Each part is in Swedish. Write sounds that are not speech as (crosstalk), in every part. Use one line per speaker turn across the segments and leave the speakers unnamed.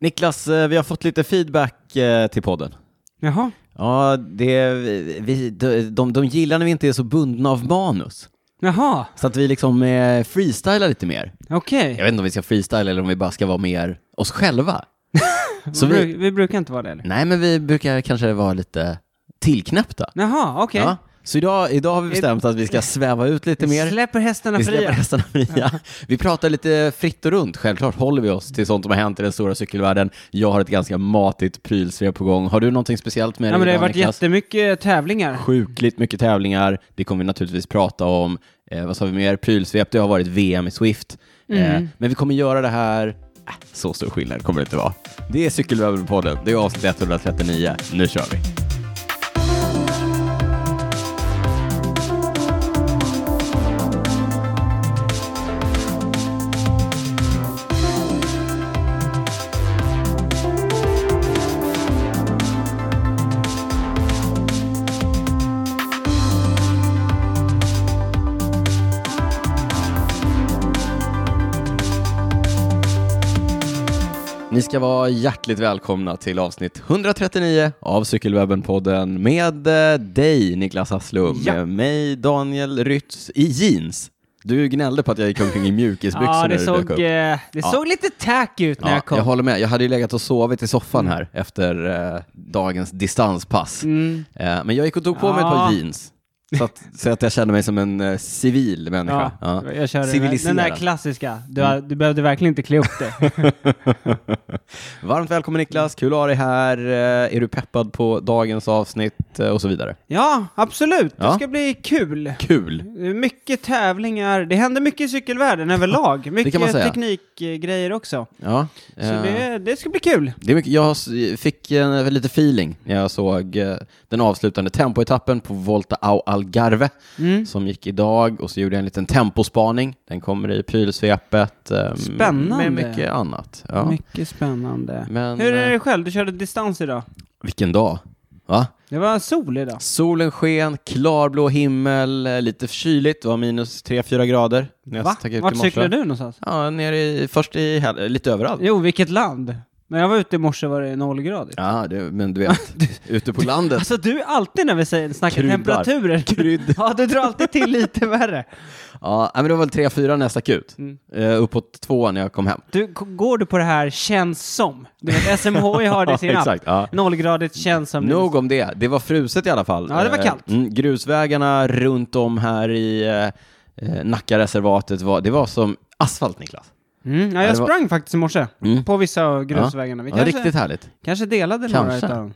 Niklas, eh, vi har fått lite feedback eh, till podden.
Jaha.
Ja, det, vi, de, de, de gillar när vi inte är så bundna av manus.
Jaha,
Så att vi liksom eh, freestylar lite mer.
okej.
Jag vet inte om vi ska freestyla eller om vi bara ska vara mer oss själva. Så
vi...
vi,
Bru- vi brukar inte vara det eller?
nej, men vi brukar kanske vara lite tillknäppta.
Jaha, okej.
Ja. Så idag, idag har vi bestämt att vi ska sväva ut lite
Vi
mer.
släpper hästarna
Vi släpper
fria.
hästarna fria. Vi pratar lite fritt och runt. Självklart håller vi oss till sånt som har hänt i den stora cykelvärlden. Jag har ett ganska matigt prylsvep på gång. Har du någonting speciellt med dig
Ja, men det har
idag,
varit
Niklas?
jättemycket tävlingar.
Sjukligt mycket tävlingar. Det kommer vi naturligtvis prata om. Eh, vad sa vi mer? Prylsvep. Det har varit VM i Swift.
Mm.
Eh, men vi kommer göra det här... Äh, så stor skillnad kommer det inte vara. Det är Cykelwebben-podden. Det är avsnitt 139. Nu kör vi. Ni ska vara hjärtligt välkomna till avsnitt 139 av Cykelwebben-podden med eh, dig, Niklas Hasslum,
Ja.
med mig, Daniel Rytz, i jeans. Du gnällde på att jag gick omkring i mjukisbyxor
Ja,
när
det
du dök
såg,
upp.
eh, det såg lite tack ut när
Ja,
jag kom.
håller med. Jag hade ju legat och sovit i soffan här efter eh, dagens distanspass.
Mm.
Eh, men jag gick och tog på mig ett
Ja.
par jeans. Så att, så att jag kände mig som en eh, civil människa.
Ja,
Ja.
Jag körde den där,
Civiliserad. Mm.
den där klassiska. Du, har- du behövde verkligen inte klä
(laughs)
upp dig.
Varmt välkommen Niklas, kul att ha dig här. Eh, är du peppad på dagens avsnitt eh, och så vidare?
ja, absolut.
Ja.
Det ska bli kul.
Kul!
Mycket tävlingar. Det händer mycket
(laughs)
i cykelvärlden överlag.
man
Mycket
säga.
teknikgrejer också.
Ja,
Så
eh,
det, det ska bli kul.
det är mycket, jag s- fick eh, lite feeling när jag såg eh, den avslutande tempoetappen på Volta au Algarve
Mm.
som gick idag och så gjorde jag en liten tempospaning. Den kommer i prylsvepet. eh,
Spännande.
Med mycket annat. Ja.
Mycket spännande.
Men
Hur är
eh,
det själv? Du körde distans idag.
vilken dag! Va?
Det var sol idag.
Solen sken, klarblå himmel, eh, lite kyligt, det var minus 3-4 grader. När jag
Va?
stack ut i
Vart
morse.
cyklade du någonstans?
Ja, nere i, först i, hel- lite överallt.
Jo, vilket land? När jag var ute i morse var det nollgradigt.
Ja, det, men du vet, ute på
(laughs)
landet.
Alltså du är alltid när vi säger, snackar
Kryddar.
temperaturer.
Krydd.
(laughs) ja, du drar alltid till lite värre.
Ja, nej, men det var väl 3-4 när jag stack ut.
Mm.
Eh, uppåt två när jag kom hem.
Du, k- går du på det här känns som? Du vet, SMHI har
(laughs)
det i sin app.
Exakt, ja.
Nollgradigt känns som.
Nog om det. Det var fruset i alla fall.
Ja, det var
Eh,
kallt.
mm, grusvägarna runt om här i eh, eh, Nackareservatet, var, det var som asfalt, Niklas.
Mm, ja,
Ja,
jag
det var-
sprang faktiskt i morse.
Mm.
På vissa av grusvägarna. Vi
Ja,
kanske,
Riktigt härligt.
kanske delade några
Kanske.
utav dem.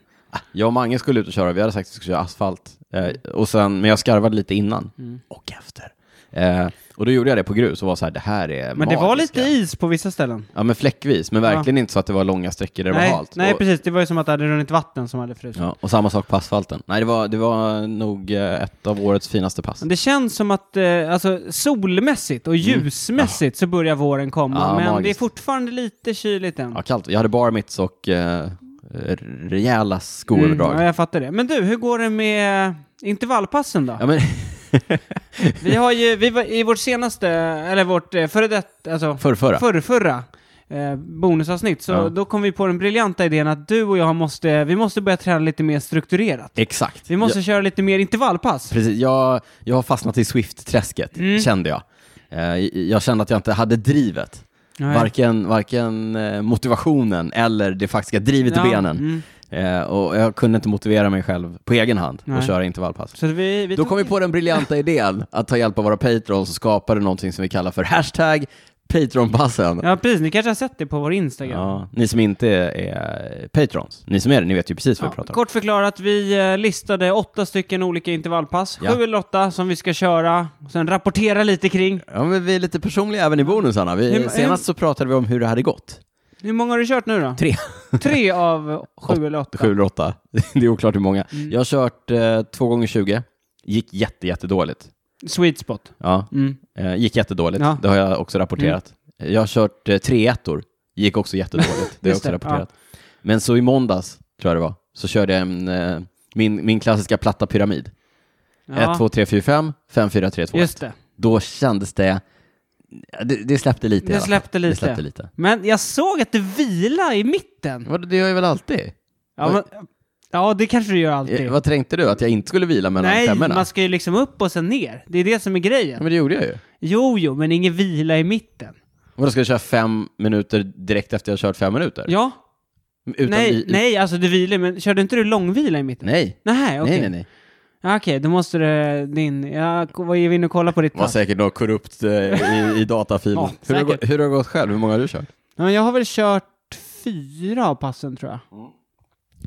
Jag och Mange skulle ut och köra, vi hade sagt att vi skulle köra asfalt. Eh, och sen, men jag skarvade lite innan
Mm.
och efter. Eh, och då gjorde jag det på grus och var så här, det här är
Men det var
magiska.
lite is på vissa ställen.
Ja, men fläckvis, men verkligen inte så att det var långa sträckor där det
nej,
var halt.
nej
och,
precis. Det var ju som att det hade runnit vatten som hade frusit.
ja, och samma sak på asfalten. Nej, det var, det var nog eh, ett av årets finaste pass.
Men Det känns som att eh, alltså, solmässigt och ljusmässigt så börjar våren komma,
Mm. Ja,
men det är
magiskt.
fortfarande lite kyligt än.
Ja, kallt. Jag hade bara mitts och eh, rejäla
Mm,
skoöverdrag.
ja, jag fattar det. Men du, hur går det med intervallpassen då?
ja, men, (laughs)
Vi har ju, vi var, i vårt senaste, eller vårt eh, före detta, alltså
förrförra.
förrförra eh, bonusavsnitt, så
Ja.
då kom vi på den briljanta idén att du och jag måste, vi måste börja träna lite mer strukturerat.
Exakt.
Vi måste
Jag,
köra lite mer intervallpass.
precis, jag, jag har fastnat i Swift-träsket,
Mm.
kände jag. Eh, jag kände att jag inte hade drivet.
Nej.
Varken, varken eh, motivationen eller det faktiska drivet i
Ja,
benen.
mm.
Eh, och jag kunde inte motivera mig själv på egen hand och
Nej.
köra intervallpass.
Så vi, vi
Då
tog-
kom vi på den briljanta idén att ta hjälp av våra patrons och skapade någonting som vi kallar för hashtag Patreonpassen.
Ja, precis. Ni kanske har sett det på vår Instagram.
Ja, ni som inte är patrons, ni som är det, ni vet ju precis vad vi
Ja,
pratar om.
kort förklarat, vi eh, listade åtta stycken olika intervallpass,
Ja.
sju eller åtta, som vi ska köra, och sen rapportera lite kring.
Ja, men vi är lite personliga även i bonusarna. Vi,
Hur-
senast så pratade vi om hur det hade gått.
Hur många har du kört nu då?
Tre,
(laughs) Tre av sju eller åtta.
sju eller åtta. (laughs) Det är oklart hur många.
Mm.
Jag har kört eh, två gånger 20. Gick jätte, jättedåligt.
Sweet spot.
Ja,
Mm.
eh, gick jättedåligt.
Ja. Mm.
Det har jag också rapporterat. Jag har kört eh, tre ettor. Gick också jättedåligt. Det har jag
Just
också
det,
rapporterat. Men så i måndags, tror jag det var, så körde jag en, eh, min, min klassiska platta pyramid.
Ja,
1, 2, 3, 4, 5, 5, 4, 3, 2,
just det.
då kändes det Det, det släppte lite i
Det
alla fall.
släppte lite.
Det släppte lite.
Men jag såg att det vila i mitten.
Vadå, det gör jag väl alltid?
Ja, men, ja det kanske du gör alltid.
Eh, Vad tänkte du? Att jag inte skulle vila mellan
Nej,
stämmorna?
man ska ju liksom upp och sen ner. Det är det som är
Ja,
grejen.
men det gjorde jag ju.
Jo, jo, men ingen vila i mitten.
Vadå, ska jag köra fem minuter direkt efter jag har kört fem minuter?
Ja,
Utan
nej,
i- i-
nej, alltså du vilar men körde inte du långvila i mitten?
Nej.
Nej, okej.
Nej, nej, nej.
Ja, Okej, då måste det din... Jag var ju inne och kollade på ditt
Det var
pass.
säkert något korrupt eh, i, i datafilen.
Ja,
hur, har det
säkert.
gått- hur har det gått själv? Hur många har du kört?
Ja, men jag har väl kört fyra av passen tror jag.
Mm.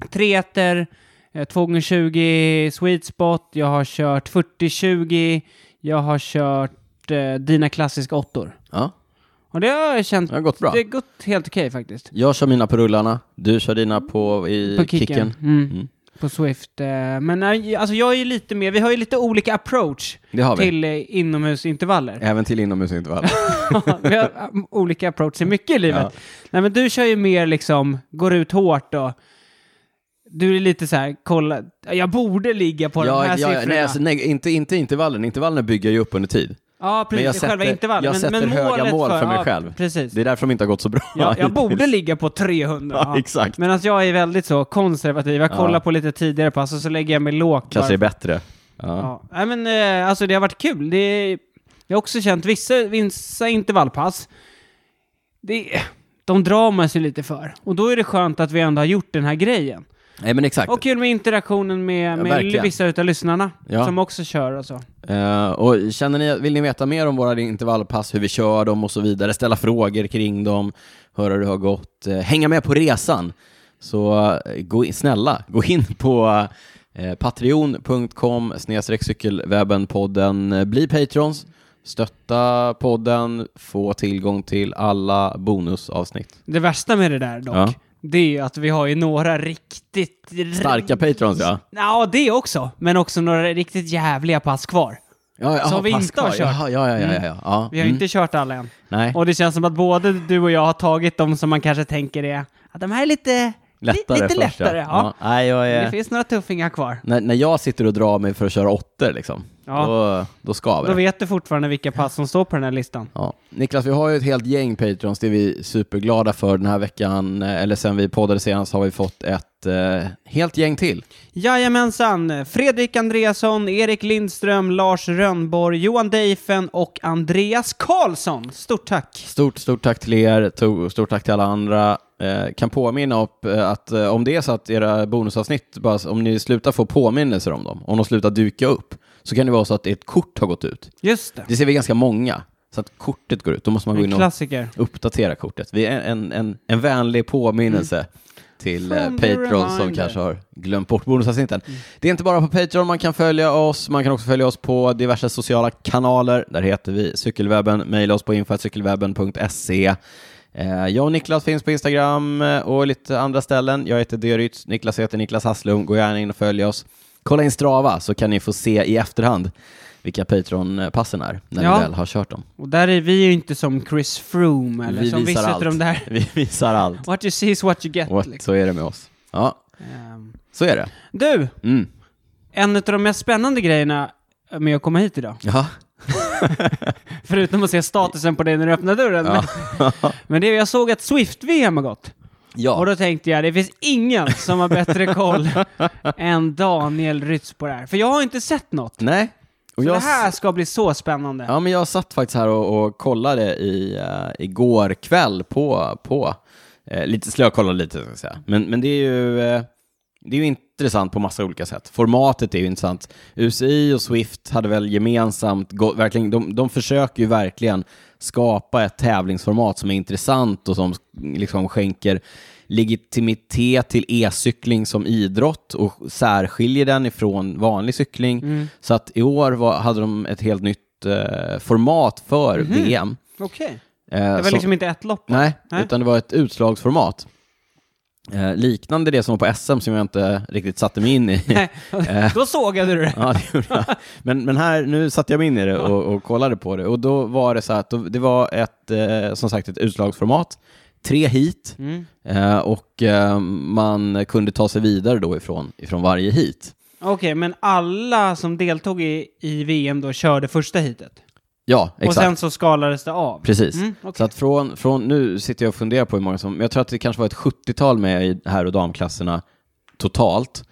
Tre etter, eh, 2 gånger 20 sweet spot, jag har kört 40-20, jag har kört eh, dina klassiska åttor.
Ja,
Och det har jag känt,
det har gått bra.
det har gått helt okej faktiskt.
Jag kör mina på rullarna, du kör dina på, i
På kicken. Mm.
Mm.
På Swift. eh, Men nej, alltså jag är ju lite mer, vi har ju lite olika approach
Det har vi.
till eh, inomhusintervaller.
Även till inomhusintervall.
(laughs) vi har um, olika approacher mycket i livet. Nej, men du kör ju mer liksom, går ut hårt och du är lite så här, kolla, jag borde ligga på de här siffrorna.
nej, alltså, nej, inte, inte intervallen. Intervallen bygger jag ju upp under tid.
ja, precis,
men jag
det är själva
sätter-
intervallen.
jag sätter höga
målet
mål för mig
ja,
själv.
Precis.
Det är därför de inte har gått så bra.
jag, jag
hittills.
borde ligga på 300.
(laughs) Ja,
ja.
exakt.
Medan jag är väldigt så konservativ, jag
Ja.
kollar på lite tidigare pass och så lägger jag mig lågt.
Kanske
bara.
är bättre. Ja.
Ja. Nej, men eh, alltså det har varit kul. Det är, jag har också känt vissa, vissa intervallpass, det, de drar man sig lite för. Och då är det skönt att vi ändå har gjort den här grejen.
Nej, men exakt.
Och kul med interaktionen med, med
verkligen.
vissa utav lyssnarna
Ja.
som också kör alltså. och så.
Eh, och känner ni, vill ni veta mer om våra intervallpass, hur vi kör dem och så vidare, ställa frågor kring dem, höra hur det har gått, eh, hänga med på resan, så eh, gå in, snälla, gå in på eh, patreon.com snedstreck cykelwebbenpodden, Eh, bli patrons, stötta podden, få tillgång till alla bonusavsnitt.
Det värsta med det där dock,
Ja.
det är ju att vi har ju några riktigt...
Starka patrons ja.
Ja, det också. Men också några riktigt jävliga pass kvar.
ja, ja
Som vi
pass
inte har
kvar.
kört.
Jaha, Ja, ja, ja, ja, ja. ja.
Vi har
mm.
inte kört alla än.
Nej.
Och det känns som att både du och jag har tagit dem som man kanske tänker är att de här är lite lättare. Lite
först,
lättare ja.
Nej, jag är...
Det finns några tuffingar kvar.
När, när jag sitter och drar mig för att köra åttor, liksom,
Ja.
då, då skaver
Då
det.
vet du fortfarande vilka pass som står på den här listan.
Ja. Niklas, vi har ju ett helt gäng Patrons, det är vi superglada för den här veckan. Eh, Eller sen vi poddade senast har vi fått ett eh, helt gäng till.
Jajamensan! Fredrik Andreasson, Erik Lindström, Lars Rönnborg, Johan Deifen och Andreas Karlsson. Stort tack!
Stort, stort tack till er, to- stort tack till alla andra. Eh, kan påminna om eh, att eh, om det är så att era bonusavsnitt, bara, s- om ni slutar få påminnelser om dem, om de slutar dyka upp, så kan det vara så att ett kort har gått ut.
Just det.
Det ser vi ganska många, så att kortet går ut. Då måste man gå in
En
och
klassiker.
uppdatera kortet. Vi är en, en, en vänlig påminnelse till eh,
From the
Patreon som
Mm. reminder. Mm.
kanske har glömt bort bonusavsnitten. Det är inte bara på Patreon man kan följa oss, man kan också följa oss på diverse sociala kanaler. Där heter vi Cykelwebben, mejla oss på info.cykelwebben.se. Eh, Jag och Niklas finns på Instagram eh, och lite andra ställen. Jag heter Derytz, Niklas heter Niklas Hasslum. Gå gärna in och följ oss. Kolla in Strava så kan ni få se i efterhand vilka Patreon-passen är när
Ja.
ni väl har kört dem.
Och där är vi ju inte som Chris Froome eller
Vi
som
visar
vissa
allt.
utav de där
Vi visar allt.
What you see is what you get.
What?
Liksom.
Så är det med oss. Ja,
Ehm,
så är det.
Du,
Mm.
en av de mest spännande grejerna med att komma hit idag,
Ja.
förutom att se statusen på dig när du öppnar dörren, men, (laughs) men det är jag såg att Swift-VM har gått. Och
ja.
då tänkte jag, det finns ingen som har
(laughs)
bättre koll än Daniel Rytz på det här. För jag har inte sett något.
Nej. Och
Så
jag,
det här ska bli så spännande.
ja, men jag satt faktiskt här och, och kollade i, eh, igår kväll på, på eh, lite slökollade lite, ska jag säga. Men, men det är ju... eh, det är ju intressant på massa olika sätt. Formatet är ju intressant. UCI och Swift hade väl gemensamt, gå, verkligen, de, de försöker ju verkligen skapa ett tävlingsformat som är intressant och som liksom skänker legitimitet till e-cykling som idrott och särskiljer den ifrån vanlig cykling.
Mm.
Så att i år var, hade de ett helt nytt eh, format för VM.
Okej.
eh,
Mhm. Det var
som-
liksom inte ett lopp.
Nej,
Nej.
utan det var ett utslagsformat. Eh, liknande det som var på SM som jag inte riktigt satte mig in i.
Nej. då sågade du det.
(laughs) ja, det gjorde jag. Men, men här, nu satte jag mig in i det och, och kollade på det. Och då var det så här att då, det var ett, eh, som sagt ett utslagsformat, tre heat
Mm.
eh, och eh, man kunde ta sig vidare då ifrån, ifrån varje heat.
Okej, men alla som deltog i, i VM då körde första hitet.
Ja, exakt.
Och sen så skalades det av.
Precis.
Mm, okej.
Så att från, från, nu sitter jag och funderar på hur många som, men jag tror att det kanske var ett 70-tal med i här och damklasserna totalt,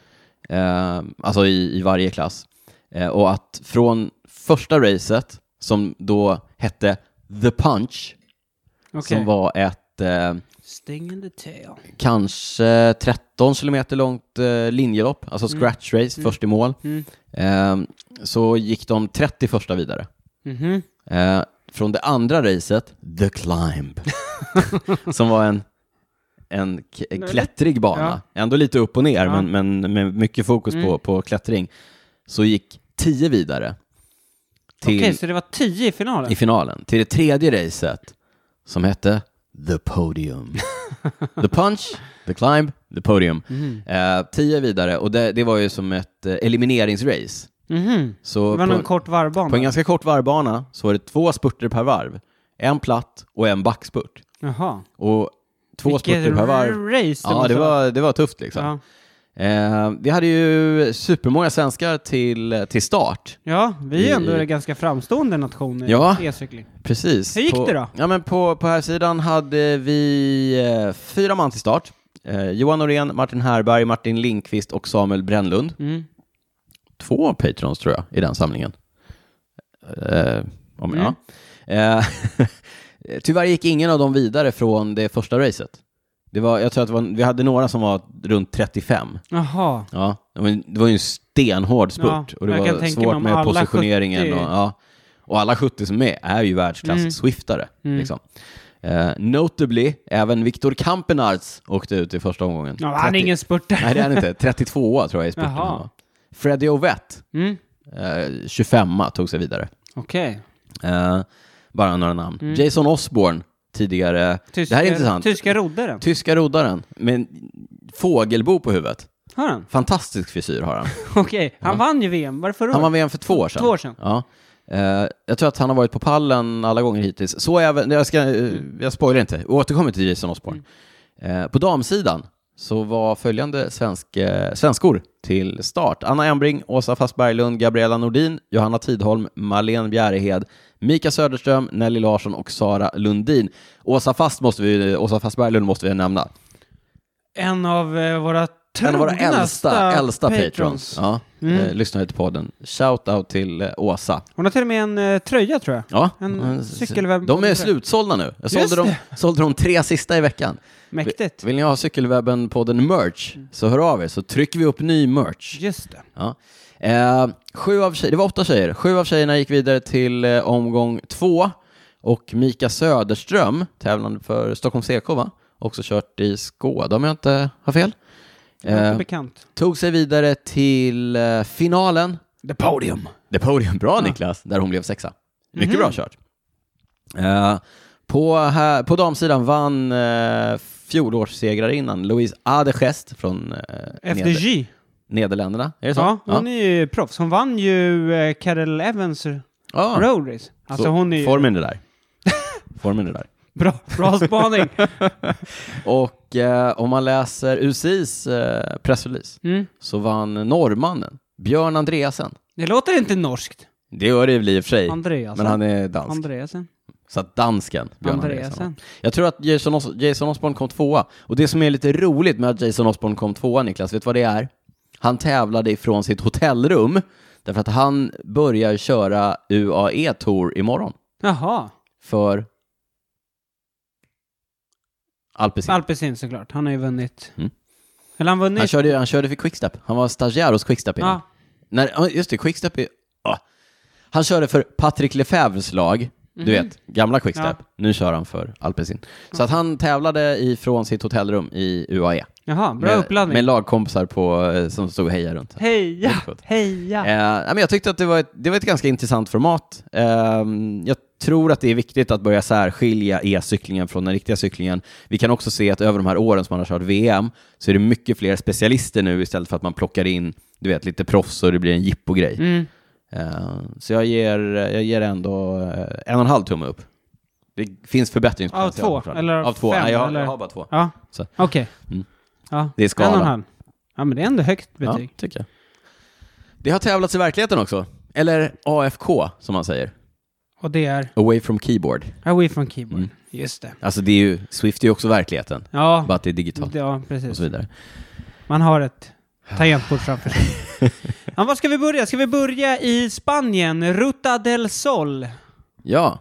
eh, alltså i, i varje klass. Eh, och att från första racet, som då hette The Punch,
Okej.
som var ett eh,
Sting in the tail.
kanske 13 kilometer långt eh, linjelopp, alltså scratch race, först i mål,
Mm.
eh, så gick de 30 första vidare.
Mhm.
Eh, från det andra racet, The Climb, (laughs) som var en, en k- en klättrig bana. Ändå lite upp och ner,
Ja. Mm.
men, men med mycket fokus på, på klättring. Så gick tio vidare
Okej,
till,
så det var tio i finalen?
i finalen. Till det tredje racet, som hette The
(laughs)
Podium. the Punch, The Climb, The Podium.
Mhm.
Eh, tio vidare, och det, det var ju som ett eh, elimineringsrace.
Mhm.
Så
Det var
på-
någon kort varvbana?
på en ganska kort varvbana så var det två spurter per varv. En platt och en backspurt.
Jaha.
Och två spurter
Vilket
per varv.
race det
Ja,
måste
det var, det var tufft liksom.
Ja.
Eh, vi hade ju supermånga svenskar till, till start.
ja, vi är ändå
I-
en ganska framstående nation i
Ja.
e-cykling.
Precis.
Hur gick
på,
det då?
Ja, men på, på här sidan hade vi eh, fyra man till start. Eh, Johan Norén, Martin Härberg, Martin Linkvist och Samuel Brännlund.
Mm.
Två patrons tror jag i den samlingen. Eh, om,
Mm.
ja. eh, (laughs) tyvärr gick ingen av dem vidare från det första racet. Det var, jag tror att det var, vi hade några som var runt 35.
Jaha.
Ja, men det var ju en stenhård spurt
Ja,
och det
jag kan
var
tänka mig
svårt
om
med
alla
positioneringen.
70.
Och, ja. och alla 70 som är med är ju världsklass
Mm.
swiftare.
Mm.
Liksom. Eh, notably, även Viktor Kampenarts åkte ut i första omgången.
Ja, han är
30
ingen spurtare.
Nej, det är han
(laughs)
inte. 32 tror jag i spurten.
Jaha.
han var. Freddie Ovett
Mm.
Eh, 25 tog sig vidare.
Okej.
Eh, bara några namn.
Mm.
Jason Osborne, tidigare.
Tyska,
det här är intressant.
Tyska roddaren.
Tyska roddaren med fågelbo på huvudet.
Har han?
Fantastisk frisyr har han.
Okej. Han vann ju VM. Varför då?
Han var VM för två år sedan.
Två år sedan.
Ja. Eh, jag tror att han har varit på pallen alla gånger hittills. Så även, jag, ska, eh, jag spoilar inte, jag återkommer till Jason Osborne. Eh, på damsidan så var följande svensk, eh, svenskor till start. Anna Embring, Åsa Fast Berglund, Gabriella Nordin, Johanna Tidholm, Marlene Bjärehed, Mika Söderström, Nelly Larsson och Sara Lundin. Åsa Fast, måste vi, Åsa Fast Berglund måste vi nämna.
En av eh, våra
En av våra
trognaste
äldsta, äldsta patrons. Ja, eh, lyssnar till podden. Shout out till eh, Åsa.
Hon har till och med en eh, tröja tror jag.
Ja,
En
eh,
cykelwebb-
De är slutsålda nu. Jag
Just
sålde de, sålde de tre sista i veckan.
Mäktigt.
Vill ni ha cykelwebben-podden merch så hör av er så trycker vi upp ny merch.
Just det.
Ja. Eh, sju av tjejer, det var åtta tjejer. Sju av tjejerna gick vidare till eh, omgång två och Mika Söderström, tävlande för Stockholm CK va? Också kört i Skåda om jag inte har fel.
Inte
Eh,
bekant.
tog sig vidare till eh, finalen
The podium.
The Podium, bra Niklas, där hon blev sexa. Mycket bra kört. Mhm. Eh, på, här, på damsidan vann uh, fjolårssegrarinnan Louise Adegest från eh, Neder-
FDJ.
Nederländerna. Är det så?
Ja, hon är ju proffs. Hon vann ju eh, Karel Evans
Ja.
Road Race. Alltså
Så
hon är ju...
Formen är där. (laughs) Formen är där.
Bra, bra spaning.
(laughs) Och eh, om man läser UCIs eh, pressrelease
Mm.
så vann norrmannen Björn Andreasen.
Det låter inte norskt.
Det gör det väl i och för sig,
Andreasen.
men han är dansk.
Andreasen.
Så att dansken, Björn
Andreasen.
Andreasen. Jag tror att Jason, Os- Jason Osborne kom tvåa. Och det som är lite roligt med att Jason Osborne kom tvåa, Niklas, vet du vad det är? Han tävlade ifrån sitt hotellrum, därför att han börjar köra UAE Tour imorgon
Jaha.
för Alpecin.
Alpecin såklart. Han har ju vunnit.
Mm.
Eller han vunnit.
han, körde, ju- han körde för Quickstep. Han var stagiär hos Quickstep innan.
Ja.
När, ja, just det, Quickstep är... ah. Han körde för Patrick Lefebvres lag, du vet, gamla Quickstep.
Mhm. Ja.
Nu kör han för Alpecin. Så att han tävlade ifrån sitt hotellrum i UAE.
Jaha, bra
Med,
uppladdning.
med lagkompisar på, eh, som stod och hejade runt.
Heja!
Väldigt gott.
Heja!
Eh, nej, men jag tyckte att det var ett, det var ett ganska intressant format. Eh, jag tror att det är viktigt att börja särskilja e-cyklingen från den riktiga cyklingen. Vi kan också se att över de här åren som man har kört VM så är det mycket fler specialister nu istället för att man plockar in du vet, lite proffs och det blir en jippogrej.
Mm.
Eh, så jag ger, jag ger ändå eh, en och en halv tumme upp. Det finns förbättringspotential.
Av två,
framför allt.
eller
av två.
fem,
nej, jag,
eller?
jag har bara två.
Ja,
Så.
okej.
Mm.
Ja.
Det är skala.
En och en halv. Ja, men det är ändå högt
Ja,
betyg.
tycker jag. Det har tävlats i verkligheten också. Eller AFK, som man säger.
Och det är
Away from keyboard.
Away from Keyboard.
Mm.
Just det.
Alltså det är ju, Swift är ju också verkligheten, bara
Ja,
att det är digitalt
ja
och
precis.
så vidare.
Man har ett tangentbord
(laughs)
framför sig. ja, var ska vi börja? Ska vi börja i Spanien? Ruta del Sol.
Ja.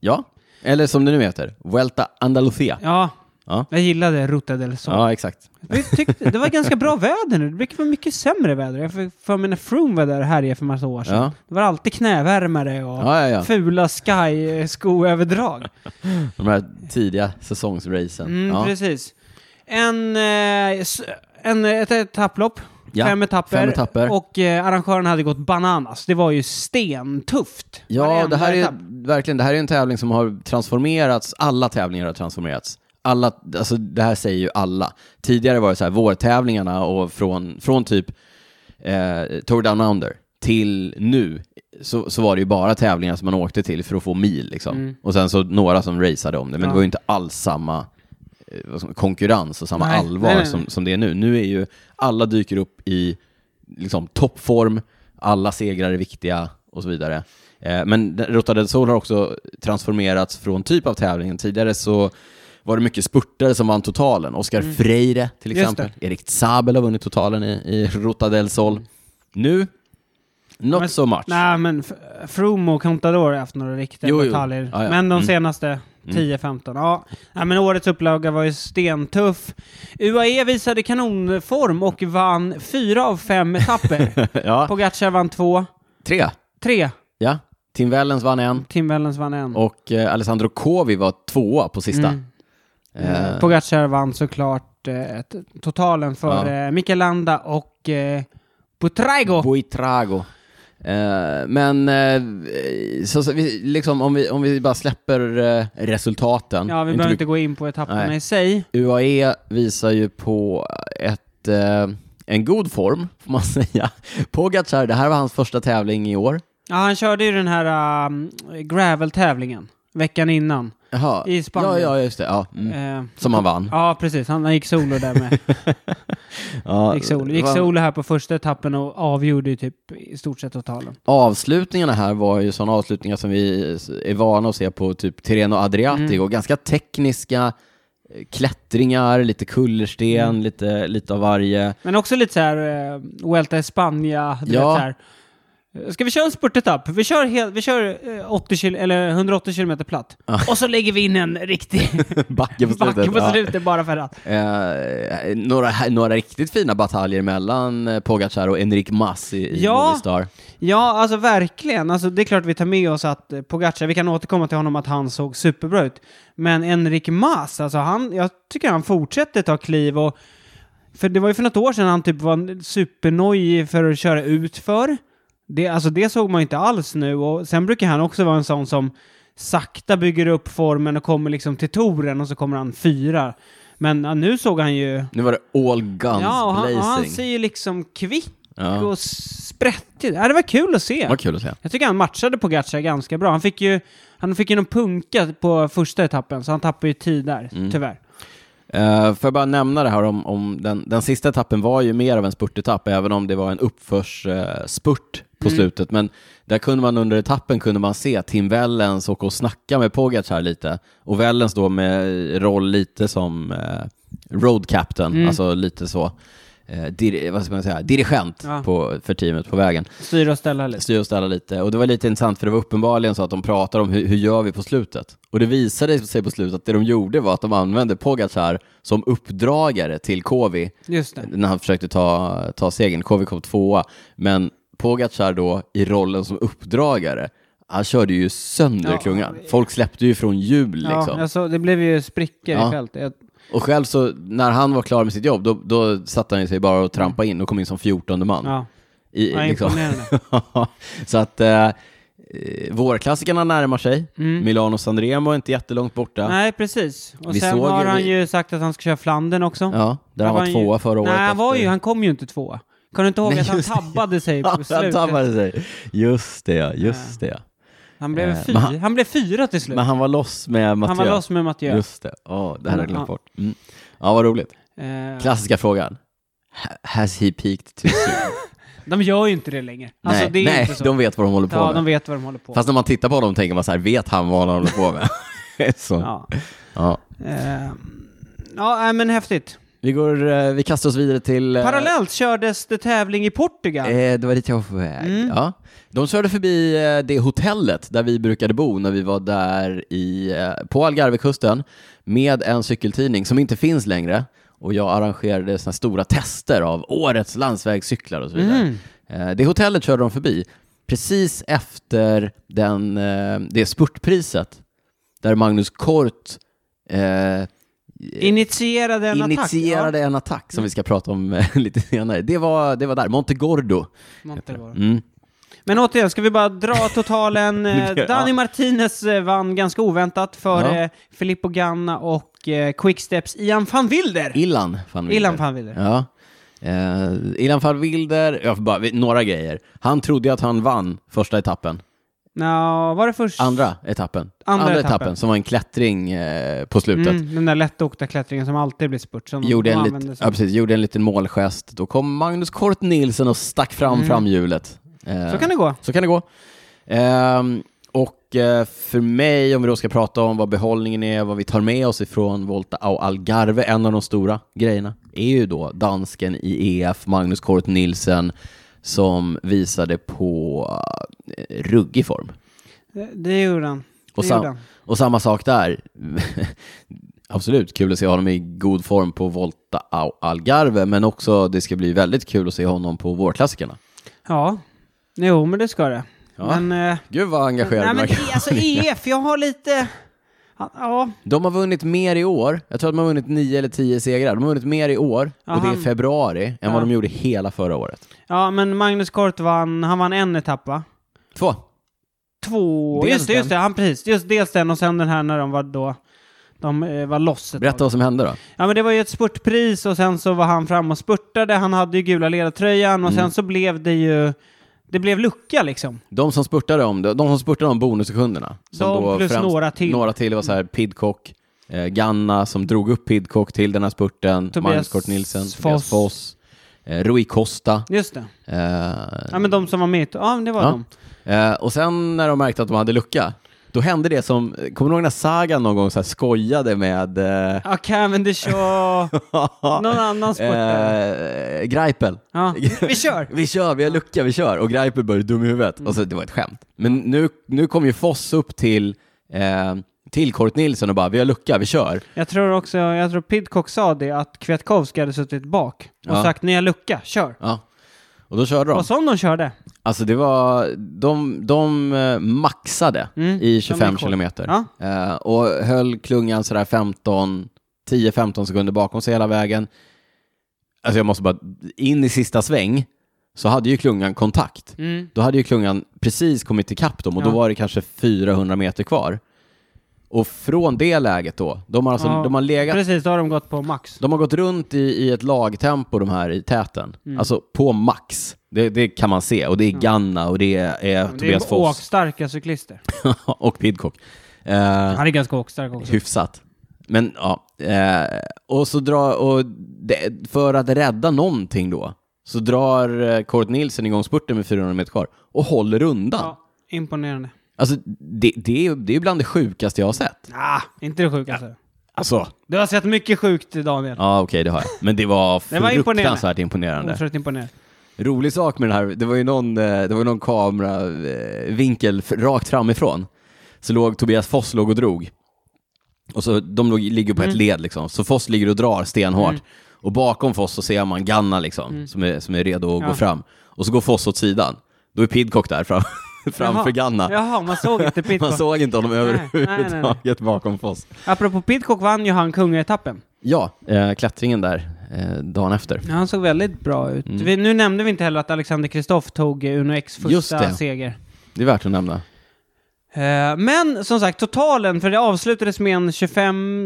Ja. Eller som det nu heter, Vuelta Andalucía.
Ja,
Ja.
jag gillade Ruta del Sol.
Ja, exakt.
Vi tyckte, det var ganska bra väder nu. Det brukar vara mycket sämre väder. Jag fick för mig när Froome var där här för massa år sedan.
Ja.
Det var alltid knävärmare och
Ja, ja, ja.
fula sky-skoöverdrag.
De här tidiga säsongsracen.
Mm,
ja.
Precis. En, eh, s- en, ett etapplopp.
Ja,
Fem, etapper.
fem etapper.
Och eh, arrangören hade gått bananas. Det var ju stentufft.
ja,
Varenda
det här
etapp.
är verkligen, det här är en tävling som har transformerats. Alla tävlingar har transformerats. Alla, alltså det här säger ju alla. Tidigare var det så här vårtävlingarna och från, från typ eh, Tour Down Under till nu så, så var det ju bara tävlingar som man åkte till för att få mil liksom. Och sen så några som raceade om det, men
Mm. Ja.
det var ju inte alls samma eh, vad som- konkurrens och samma
Nej,
allvar
nej, nej, nej.
Som, som det är nu. Nu är ju alla dyker upp i liksom, toppform, alla segrar är viktiga och så vidare. Eh, men den- Rota del Sol har också transformerats från typ av tävlingen. Tidigare så var det mycket spurtare som vann totalen. Oscar Freire till
Mm. Just
exempel. Erik Zabel har vunnit totalen i, i Rota del Sol. Nu, not
Men-
so much.
Nej, men F- Froome och Contador har haft några riktiga
Jo, jo.
bataljer.
Ja, ja.
Men de
Mm.
senaste 10-15, ja. Nej, men årets upplaga var ju stentuff. UAE visade kanonform och vann fyra av
(laughs)
fem etapper.
(laughs) ja,
Pogacar vann två,
tre.
tre.
Ja. Tim Wellens vann en
Tim Wellens vann en.
och eh, Alessandro Covi var tvåa på sista.
Mm.
Eh,
Pogacar vann såklart eh, t- totalen för eh, Mikel Landa och eh, Butraigo.
Buitrago. Eh, men eh, så, så, vi, liksom, om, vi, om vi bara släpper eh, resultaten.
ja, vi
Inte
behöver
vi-
inte gå in på etapperna
Nej.
i sig.
UAE E visar ju på ett, eh, en god form, får man (laughs) säga. Pogacar, det här var hans första tävling i år.
Ja, han körde ju den här um, gravel-tävlingen veckan innan.
Jaha.
I Spanien.
Ja, ja, just det. Ja. Mm.
Eh,
Som han vann.
ja, precis. Han, han gick solo där
(laughs)
med.
Ja,
Gick solo. Gick
vann.
solo här på första etappen och avgjorde ju typ i stort sett totalen.
Avslutningarna här var ju sådana avslutningar som vi är vana att se på typ Tirreno Adriatico.
Mm.
Ganska tekniska eh, klättringar, lite kullersten,
Mm.
lite, lite av
(laughs)
varje.
Men också lite så här, eh, Vuelta Espana, du
Ja.
vet så här. Eh, Ska vi köra en spurtetapp? Vi kör, hel, vi kör eh, 80 kil, eller 180 kilometer platt. Och så lägger vi in en riktig
Backe (laughs) på slutet.
backe på
ja.
slutet bara för att.
Eh, några, några riktigt fina bataljer mellan eh, Pogacar och Enric Mas i, i
Ja.
Movistar.
Ja, alltså verkligen. Alltså, det är klart vi tar med oss att eh, Pogacar, vi kan återkomma till honom att han såg superbra ut. Men Enrik Mas, alltså han, jag tycker han fortsätter ta kliv och... För det var ju för något år sedan han typ var supernojig för att köra utför. Det, alltså det såg man ju inte alls nu och sen brukar han också vara en sån som sakta bygger upp formen och kommer liksom till touren och så kommer han fyra. Men ja, nu såg han ju...
Nu var det all guns
Ja, och han,
blazing.
och han ser ju liksom kvick
Ja.
och sprättig. Ja, det var kul att se.
Vad kul att se.
Jag tycker han matchade Pogacar ganska bra. Han fick ju, han fick ju någon punka på första etappen, så han tappade ju tid där,
Mm.
tyvärr.
Uh, får jag bara nämna det här om, om den, den sista etappen var ju mer av en spurtetapp, även om det var en uppförsspurt spurt på slutet. Men där kunde man under etappen kunde man se Tim Wellens åka och snacka med Pogacar lite. Och Wellens då med roll lite som eh, road captain, alltså lite så. eh, dir- vad ska man säga, dirigent
Ja.
på, för teamet på vägen
Styra och ställa lite.
styra och ställa lite. Och det var lite intressant för det var uppenbarligen så att de pratade om hur, hur gör vi på slutet? Och det visade sig på slutet att det de gjorde var att de använde Pogacar som uppdragare till Kovi
Just det.
när han försökte ta, ta segern. Kovi kom tvåa, men Pogacar då i rollen som uppdragare, han körde ju sönder
Ja.
klungan. Folk släppte ju från hjul liksom.
Ja, alltså, det blev ju sprickor
Ja.
i fältet. Jag-
Och själv så, när han var klar med sitt jobb, då, då satte han ju sig bara och trampade in och kom in som fjortonde man.
Ja,
I,
ja
liksom.
imponerande.
(laughs) så att eh, eh, vårklassikerna närmar sig. (laughs) Milano Sanremo är inte jättelångt borta.
Mm. Nej, precis. Och
Vi
sen
såg
har
ju-
han
vi-
ju sagt att han ska köra Flandern också.
Ja, där han var
ju-
tvåa förra året.
Nej, han, var
efter-
ju, han kom ju inte tvåa. Kan du inte ihåg
Nej,
att han
just det.
tabbade
(laughs)
sig
Ja,
på
han
slutet? han,
tappade sig. Just det ja, just det ja.
blev
Eh,
fyra.
men
Han...
han-
blev fyra till slut.
Men han var loss med Mathieu.
Han var loss med Mathieu.
Just det, Åh, det här har jag glömt
Ja.
bort. Mm. Ja, vad roligt.
Eh,
Klassiska frågan. Ha- Has he peaked too soon?
De gör ju inte det längre. Alltså,
nej,
det är ju
nej
inte så.
de vet vad de håller på
ja,
med.
de vet vad de håller på med.
Fast när man tittar på honom tänker man så här, vet han vad han håller
(laughs)
på med? (laughs) så, ja.
Ja. Ehm, ja, nej, men häftigt.
Vi, går, eh, vi kastar oss vidare till... eh,
Parallellt kördes det tävling i Portugal.
Eh, det var dit jag var på väg.
Mm.
Ja. De körde förbi eh, det hotellet där vi brukade bo när vi var där i, eh, på Algarvekusten med en cykeltidning som inte finns längre. Och jag arrangerade såna stora tester av årets landsvägscyklar och så vidare.
Mm.
Eh, det hotellet körde de förbi precis efter den, eh, det spurtpriset där Magnus Kort eh,
Initierade en attack.
initierade en attack som vi ska prata om eh, (laughs) lite senare. Det var, det var där, Montegordo.
Ja, Montevideo.
Mm.
Men återigen, ska vi bara dra
(laughs)
totalen? Eh,
Ja.
Dani Martinez eh, vann ganska oväntat före
Ja.
eh, Filippo Ganna och eh, Quicksteps Ian van Wilder.
Ilan van Wilder.
Ilan van Wilder.
Ja. Eh, Ilan van Wilder, jag får bara, några grejer. Han trodde ju att han vann första etappen,
Nå, var det först?
andra etappen.
Andra
etappen.
etappen.
som var en klättring eh, på slutet.
Mm, den där lättåkta klättringen som alltid blir spurt. Som
Gjorde
de
en,
använder
lit,
sig
ja,
av.
precis, gjorde en liten målgest. Då kom Magnus Kort Nielsen och stack fram framhjulet. Eh,
Mm. Så kan det gå.
Så kan det gå. Ehm, och eh, för mig, om vi då ska prata om vad behållningen är, vad vi tar med oss ifrån Volta och Algarve, en av de stora grejerna, är ju då dansken i EF, Magnus Kort Nilsen, som visade på eh, ruggig form.
Det, det gjorde han.
Och,
Det
sam-
gjorde han.
och samma sak där. (laughs) Absolut kul att se honom i god form på Volta au Algarve, men också det ska bli väldigt kul att se honom på vårklassikerna.
Ja, jo men det ska det.
Ja.
Men, eh,
Gud vad engagerad
nej,
du
men
verkar
E- alltså EF, jag har lite... Ja, Ja,
De har vunnit mer i år. Jag tror att de har vunnit nio eller tio segrar. De har vunnit mer i år, och
Aha.
det är februari, än
Ja.
vad de gjorde hela förra året.
ja, men Magnus Kort vann, han vann en etapp va?
Två.
Två,
Dels
just det, just det,
den.
han precis. Just dels den och sen den här när de var då... De eh, var loss ett
Berätta
tag.
vad som hände då.
Ja men det var ju ett spurtpris och sen så var han fram och spurtade, han hade ju gula ledartröjan och
Mm.
sen så blev det ju... Det blev lucka liksom.
De som spurtade om, de som spurtade om bonussekunderna. Som
De plus några till.
Några till, det var så här Pidcock, eh, Ganna som drog upp Pidcock till den här spurten,
Tobias
Magnus Kort Nilsen, Tobias
Foss.
Foss, eh, Rui Costa.
Just det.
Eh,
Ja men de som var med, ja men det var
ja.
de.
Eh, och sen när de märkte att de hade lucka, då hände det som, kommer du ihåg när Saga någon gång så här skojade med eh, (laughs)
Ja, Cavendish och någon annan sportare.
Eh, Greipel.
Ja, vi kör!
Vi kör, vi har lucka, vi kör. Och Greipel började dum i huvudet.
Mm.
Och så, det var ett skämt. Men nu, nu kom ju Foss upp till, eh, till Kort Nilsson och bara, vi har lucka, vi kör.
Jag tror också, jag tror Pidcock sa det, att Kwiatkowski hade suttit bak och
Ja.
sagt ni har lucka, kör.
Ja. Och då körde de.
Och som de körde.
Alltså det var, de, de eh, maxade
Mm,
i 25
gick hårt.
kilometer.
Ja.
Eh, och höll klungan sådär 15, 10-15 sekunder bakom sig hela vägen. Alltså jag måste bara, in i sista sväng så hade ju klungan kontakt.
Mm.
Då hade ju klungan precis kommit ikapp dem och
Ja.
då var det kanske 400 meter kvar. Och från det läget då, de har, alltså,
Ja,
de har legat
Precis, då har de gått på max.
de har gått runt i, i ett lagtempo de här i täten.
Mm.
Alltså på max. Det, det kan man se. Och det är Ganna och det är, är
Det
Tobias
är
Foss (laughs)
åkstarka cyklister.
och Pidcock. Eh,
Han är ganska åkstark också.
hyfsat. Men ja. Eh, och så drar, och det, för att rädda någonting då, så drar eh, Kort Nilsen igång spurten med 400 meter kvar och håller undan.
Ja, imponerande.
Alltså det, det, är, det är bland det sjukaste jag har sett.
Ah, inte det sjukaste.
Alltså.
Du har sett mycket sjukt Daniel.
Ja, okej, det har jag. Men det var
(laughs) Det var imponerande. Mm,
fruktansvärt imponerande.
Otroligt imponerande.
Rolig sak med den här, det var ju någon, eh, det var ju någon kameravinkel f- rakt framifrån. Så låg Tobias Foss låg och drog. Och så de låg, ligger på
Mm.
ett led liksom. Så Foss ligger och drar stenhårt. Och bakom Foss så ser man Ganna liksom, som, är, som är redo att
Mm. Ja.
gå fram. Och så går Foss åt sidan. Då är Pidcock där fram, (laughs) framför
Jaha.
Ganna.
Jaha, man såg inte
(laughs) Man
Pidcock.
såg inte honom
nej, nej.
överhuvudtaget bakom Foss.
Apropå Pidcock vann ju han kungaetappen.
Ja, eh, klättringen där eh, dagen efter.
Ja, han såg väldigt bra ut.
Mm.
Vi, nu nämnde vi inte heller att Alexander Kristoff tog eh, Uno X
Just
första
det.
seger.
Det är värt att nämna.
Eh, Men som sagt, totalen, för det avslutades med en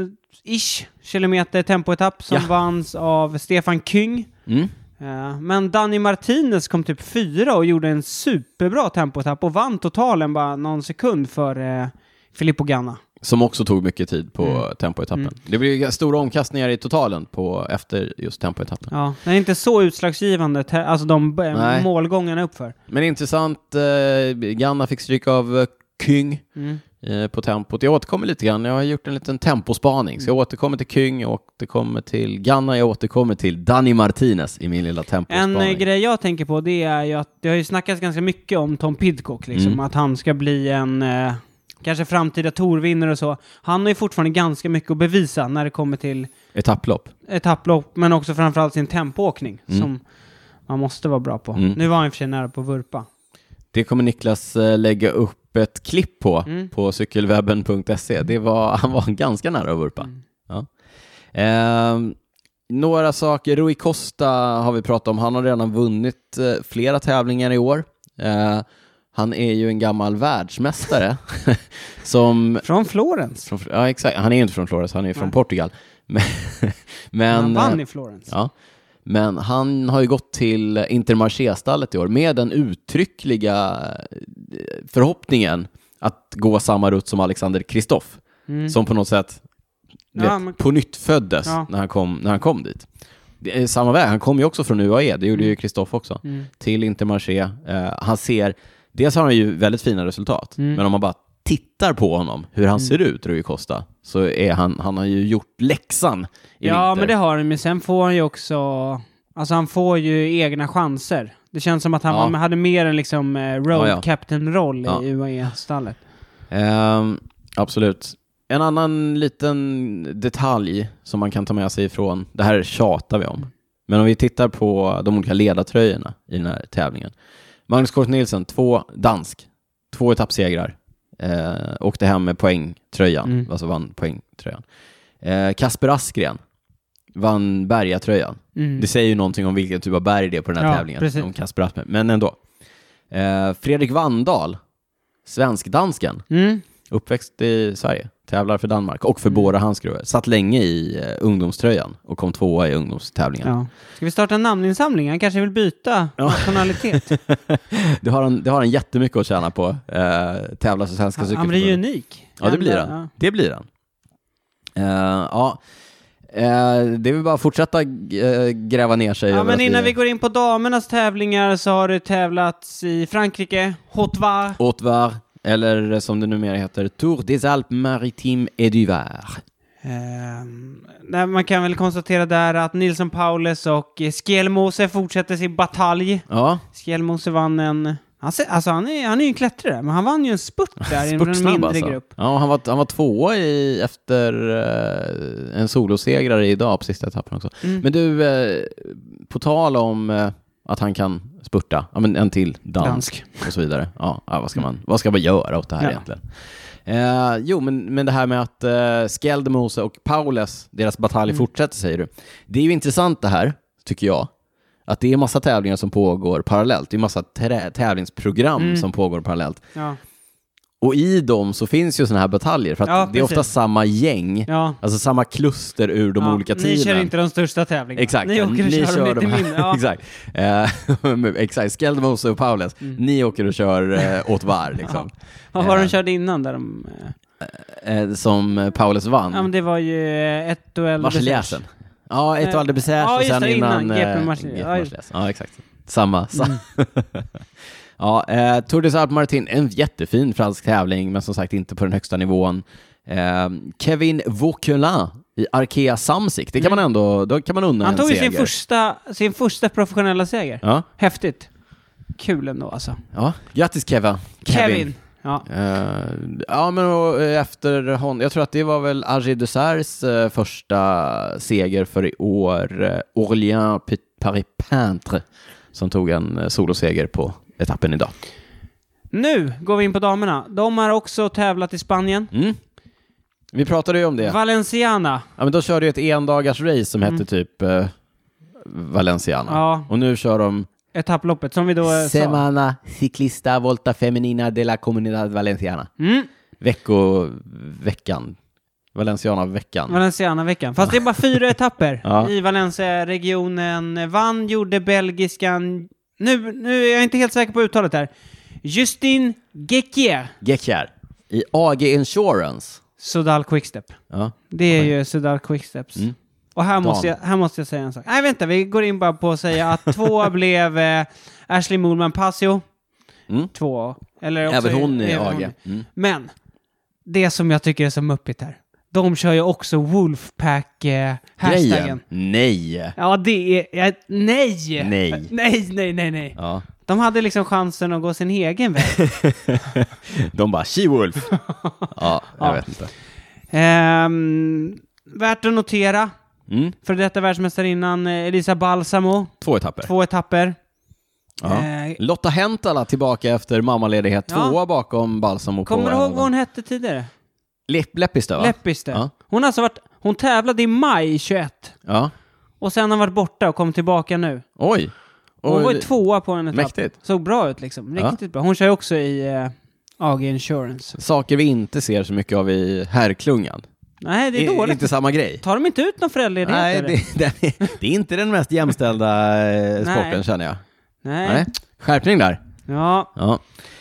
25-ish kilometer tempoetapp som
Ja.
vanns av Stefan Kyng.
Mm.
Eh, Men Danny Martinez kom typ fyra och gjorde en superbra tempoetapp och vann totalen bara någon sekund före eh, Filippo Ganna.
Som också tog mycket tid på
Mm.
tempoetappen.
Mm.
Det blir stora omkastningar i totalen på, efter just tempoetappen.
Ja, det är inte så utslagsgivande, te- alltså de b-
Nej.
målgångarna uppför.
Men intressant, eh, Ganna fick stryk av eh, Kyng
Mm.
eh, på tempot. Jag återkommer lite grann, jag har gjort en liten tempospaning.
Mm.
Så jag återkommer till Kyng, jag återkommer till Ganna, jag återkommer till Danny Martinez i min lilla
En
tempospaning.
eh, grej jag tänker på det är ju att det har ju snackats ganska mycket om Tom Pidcock, liksom,
Mm.
att han ska bli en eh, kanske framtida torvinnare och så. Han har ju fortfarande ganska mycket att bevisa när det kommer till
Etapplopp.
etapplopp, men också framförallt sin tempoåkning
Mm.
som man måste vara bra på.
Mm.
Nu var han i och för sig nära på vurpa.
Det kommer Niklas eh, lägga upp ett klipp på,
Mm.
på cykelwebben.se. Det var, (laughs) han var ganska nära att vurpa.
Mm.
Ja. Ehm, några saker, Rui Costa har vi pratat om. Han har redan vunnit eh, flera tävlingar i år. Eh, han är ju en gammal världsmästare (laughs) som...
Från Florens.
Från, ja, exakt. Han är ju inte från Flores, han är ju från
Nej.
Portugal. (laughs) Men, men,
han vann
eh,
i Florens.
ja. men han har ju gått till Intermarché-stallet i år med den uttryckliga eh, förhoppningen att gå samma rutt som Alexander Kristoff
Mm.
som på något sätt
Ja,
vet,
men-
på nytt föddes
Ja.
när, han kom, när han kom dit. Det är samma väg, han kom ju också från UAE, det gjorde ju Kristoff också,
Mm.
till Intermarché. Eh, han ser, dels har han ju väldigt fina resultat,
Mm.
men om man bara tittar på honom, hur han ser ut, Rui Costa, så är han, han har ju gjort läxan i
Ja,
vinter.
men det har han men sen får han ju också... Alltså han får ju egna chanser. Det känns som att han
Ja.
var, hade mer en liksom eh,
Ja,
road
ja.
captain-roll
Ja.
i UAE-stallet.
Ehm, absolut. En annan liten detalj som man kan ta med sig ifrån, det här tjatar vi om, men om vi tittar på de olika ledartröjorna i den här tävlingen. Magnus Kort Nielsen, två dansk, två etappsegrar, eh, åkte hem med poängtröjan,
Mm.
alltså vann poängtröjan. Eh, Kasper Askren vann bergatröjan.
Mm.
Det säger ju någonting om vilken typ av berg det är på den här
Ja,
tävlingen.
precis.
Om Kasper Askren, men ändå. Eh, Fredrik Vandahl, svensk-dansken,
Mm.
Uppväxt i Sverige, tävlar för Danmark och för
Mm.
båda hans skruvar. Satt länge i eh, ungdomströjan och kom tvåa i ungdomstävlingen.
Ja. Ska vi starta en namninsamling? Han kanske vill byta
Ja. (laughs)
nationalitet.
Det, har han, det har han jättemycket att tjäna på, eh, tävla för Svenska
han blir ju
Cykelförbundet.
unik.
Ja, det blir
Ja.
han. Det blir han. Eh, ja. Eh, det vill bara att fortsätta eh, gräva ner sig.
Ja,
över
men
att
innan vi går in på damernas tävlingar så har det tävlats i Frankrike, Haute-Var.
Haute Var, eller som det numera heter, Tour des Alpes Maritimes et du Var.
Ehm, nej, man kan väl konstatera där att Nilsson Paulus och eh, Skelmose fortsätter sin batalj.
Ja,
Skelmose vann en... Han, ser, alltså han, är, han är ju en klättrare, men han vann ju
(laughs)
en spurt där inom en
Spurtsnabb
mindre
alltså.
grupp.
Ja, han var, han var tvåa i, efter eh, en solosegrare idag på sista etappen också.
Mm.
Men du, eh, på tal om eh, att han kan spurta, ja, men en till dansk,
Dansk.
och så vidare. Ja, ja, vad, ska man, vad ska man göra åt det här
Ja.
egentligen? Eh, jo, men, men det här med att eh, Skeldemose och Paulus, deras batalj
Mm.
fortsätter säger du. Det är ju intressant det här, tycker jag. Att det är massa tävlingar som pågår parallellt. Det är massa trä- tävlingsprogram
Mm.
som pågår parallellt.
Ja.
Och i dem så finns ju sådana här bataljer, för att
Ja,
det är
precis.
ofta samma gäng,
Ja.
alltså samma kluster ur de
ja.
olika
Ni kör
teamen.
inte de största tävlingarna.
Exakt.
Ni åker och kör, de lite
här. (laughs)
mindre. Ja.
Exakt. Eh, (laughs) men exakt. Skeldemose och Paulus,
Mm.
ni åker och kör eh, åt var liksom.
Vad var
Eh.
de körde innan där de... eh,
Eh, som eh, Paulus
Ja, men
vann.
det var ju eh, ett duell...
Marseljäsen. Ja, ett och Alde Besers
Ja,
och
just
sen
det, innan
innan...
GP
eh,
Marseille.
GP
Ja, just- Mm.
Marseille. Ja, exakt. Samma. sa- (laughs) ja, eh, Tour des Alpes Martin, en jättefin fransk tävling, men som sagt inte på den högsta nivån. Eh, Kevin Vauquelin i Arkea Samsic, det kan man ändå, då kan man unna
Mm. Han
en
tog ju sin
seger.
första, sin första professionella seger.
Ja,
Häftigt. Kul ändå alltså.
ja. Grattis Kevin.
Kevin. Ja.
Eh, ja, men och, eh, efter hon, jag tror att det var väl Argy Desserts eh, första seger för i år. Eh, Orléans P- Paris Peintre som tog en eh, soloseger på etappen idag.
Nu går vi in på damerna. De har också tävlat i Spanien.
Mm. Vi pratade ju om det.
Valenciana.
Ja, men de körde ju ett endagars race som hette typ eh, Valenciana.
Mm. Ja.
Och nu kör de
Etapploppet som vi då eh, sa.
Semana Ciclista Volta Feminina de la Comunidad Valenciana.
Mm.
Veckoveckan. Valenciana-veckan.
Valenciana-veckan. Fast det är bara fyra etapper
Ja.
i Valencia-regionen. Vann gjorde belgiskan... Nu, nu är jag inte helt säker på uttalet här. Justine Gekier.
Gekjär i AG Insurance.
Sudal Quickstep.
Ja.
Det är
Oj.
ju Sudal Quicksteps.
Mm.
Och här
Dan.
måste, jag, här måste jag säga en sak. Nej, vänta, vi går in bara på att säga att
(laughs)
två blev eh, Ashley Moolman Pasio.
Mm.
Två. Eller också,
Även hon är
även
AG.
hon.
Mm.
Men, det som jag tycker är så muppigt här. De kör ju också Wolfpack-hashtaggen.
Grejen? Nej!
ja, det är... ja, nej!
Nej.
Nej, nej, nej, nej.
Ja.
De hade liksom chansen att gå sin egen väg.
(laughs) De bara
(laughs)
She-Wolf! ja, jag
Ja.
vet inte.
Ehm, värt att notera,
Mm.
för detta världsmästarinnan eh, Elisa Balsamo,
Två etapper.
två etapper.
Ja.
Eh,
Lotta Häntala tillbaka efter mammaledighet,
Ja.
tvåa bakom Balsamo
kommer
på
du ihåg vad
Arlanda.
hon hette tidigare?
Läpp, Läppistö, va?
Läppistö.
Ja.
Hon, har alltså varit, hon tävlade i maj 21
Ja.
och sen har hon varit borta och kom tillbaka nu.
Oj!
Hon
Oj.
var ju tvåa på en etapp.
Mäktigt.
Såg bra ut liksom.
Ja.
Riktigt bra. Hon kör ju också i eh, AG Insurance.
Saker vi inte ser så mycket av i herrklungan.
Nej, det är
I-
dåligt.
Inte samma grej.
Tar de inte ut någon föräldraledighet?
Nej,
eller?
det, det, (laughs) är- det är inte den mest jämställda eh, sporten
Nej.
känner jag.
Nej.
Nej. Skärpning där.
Ja.
Ja.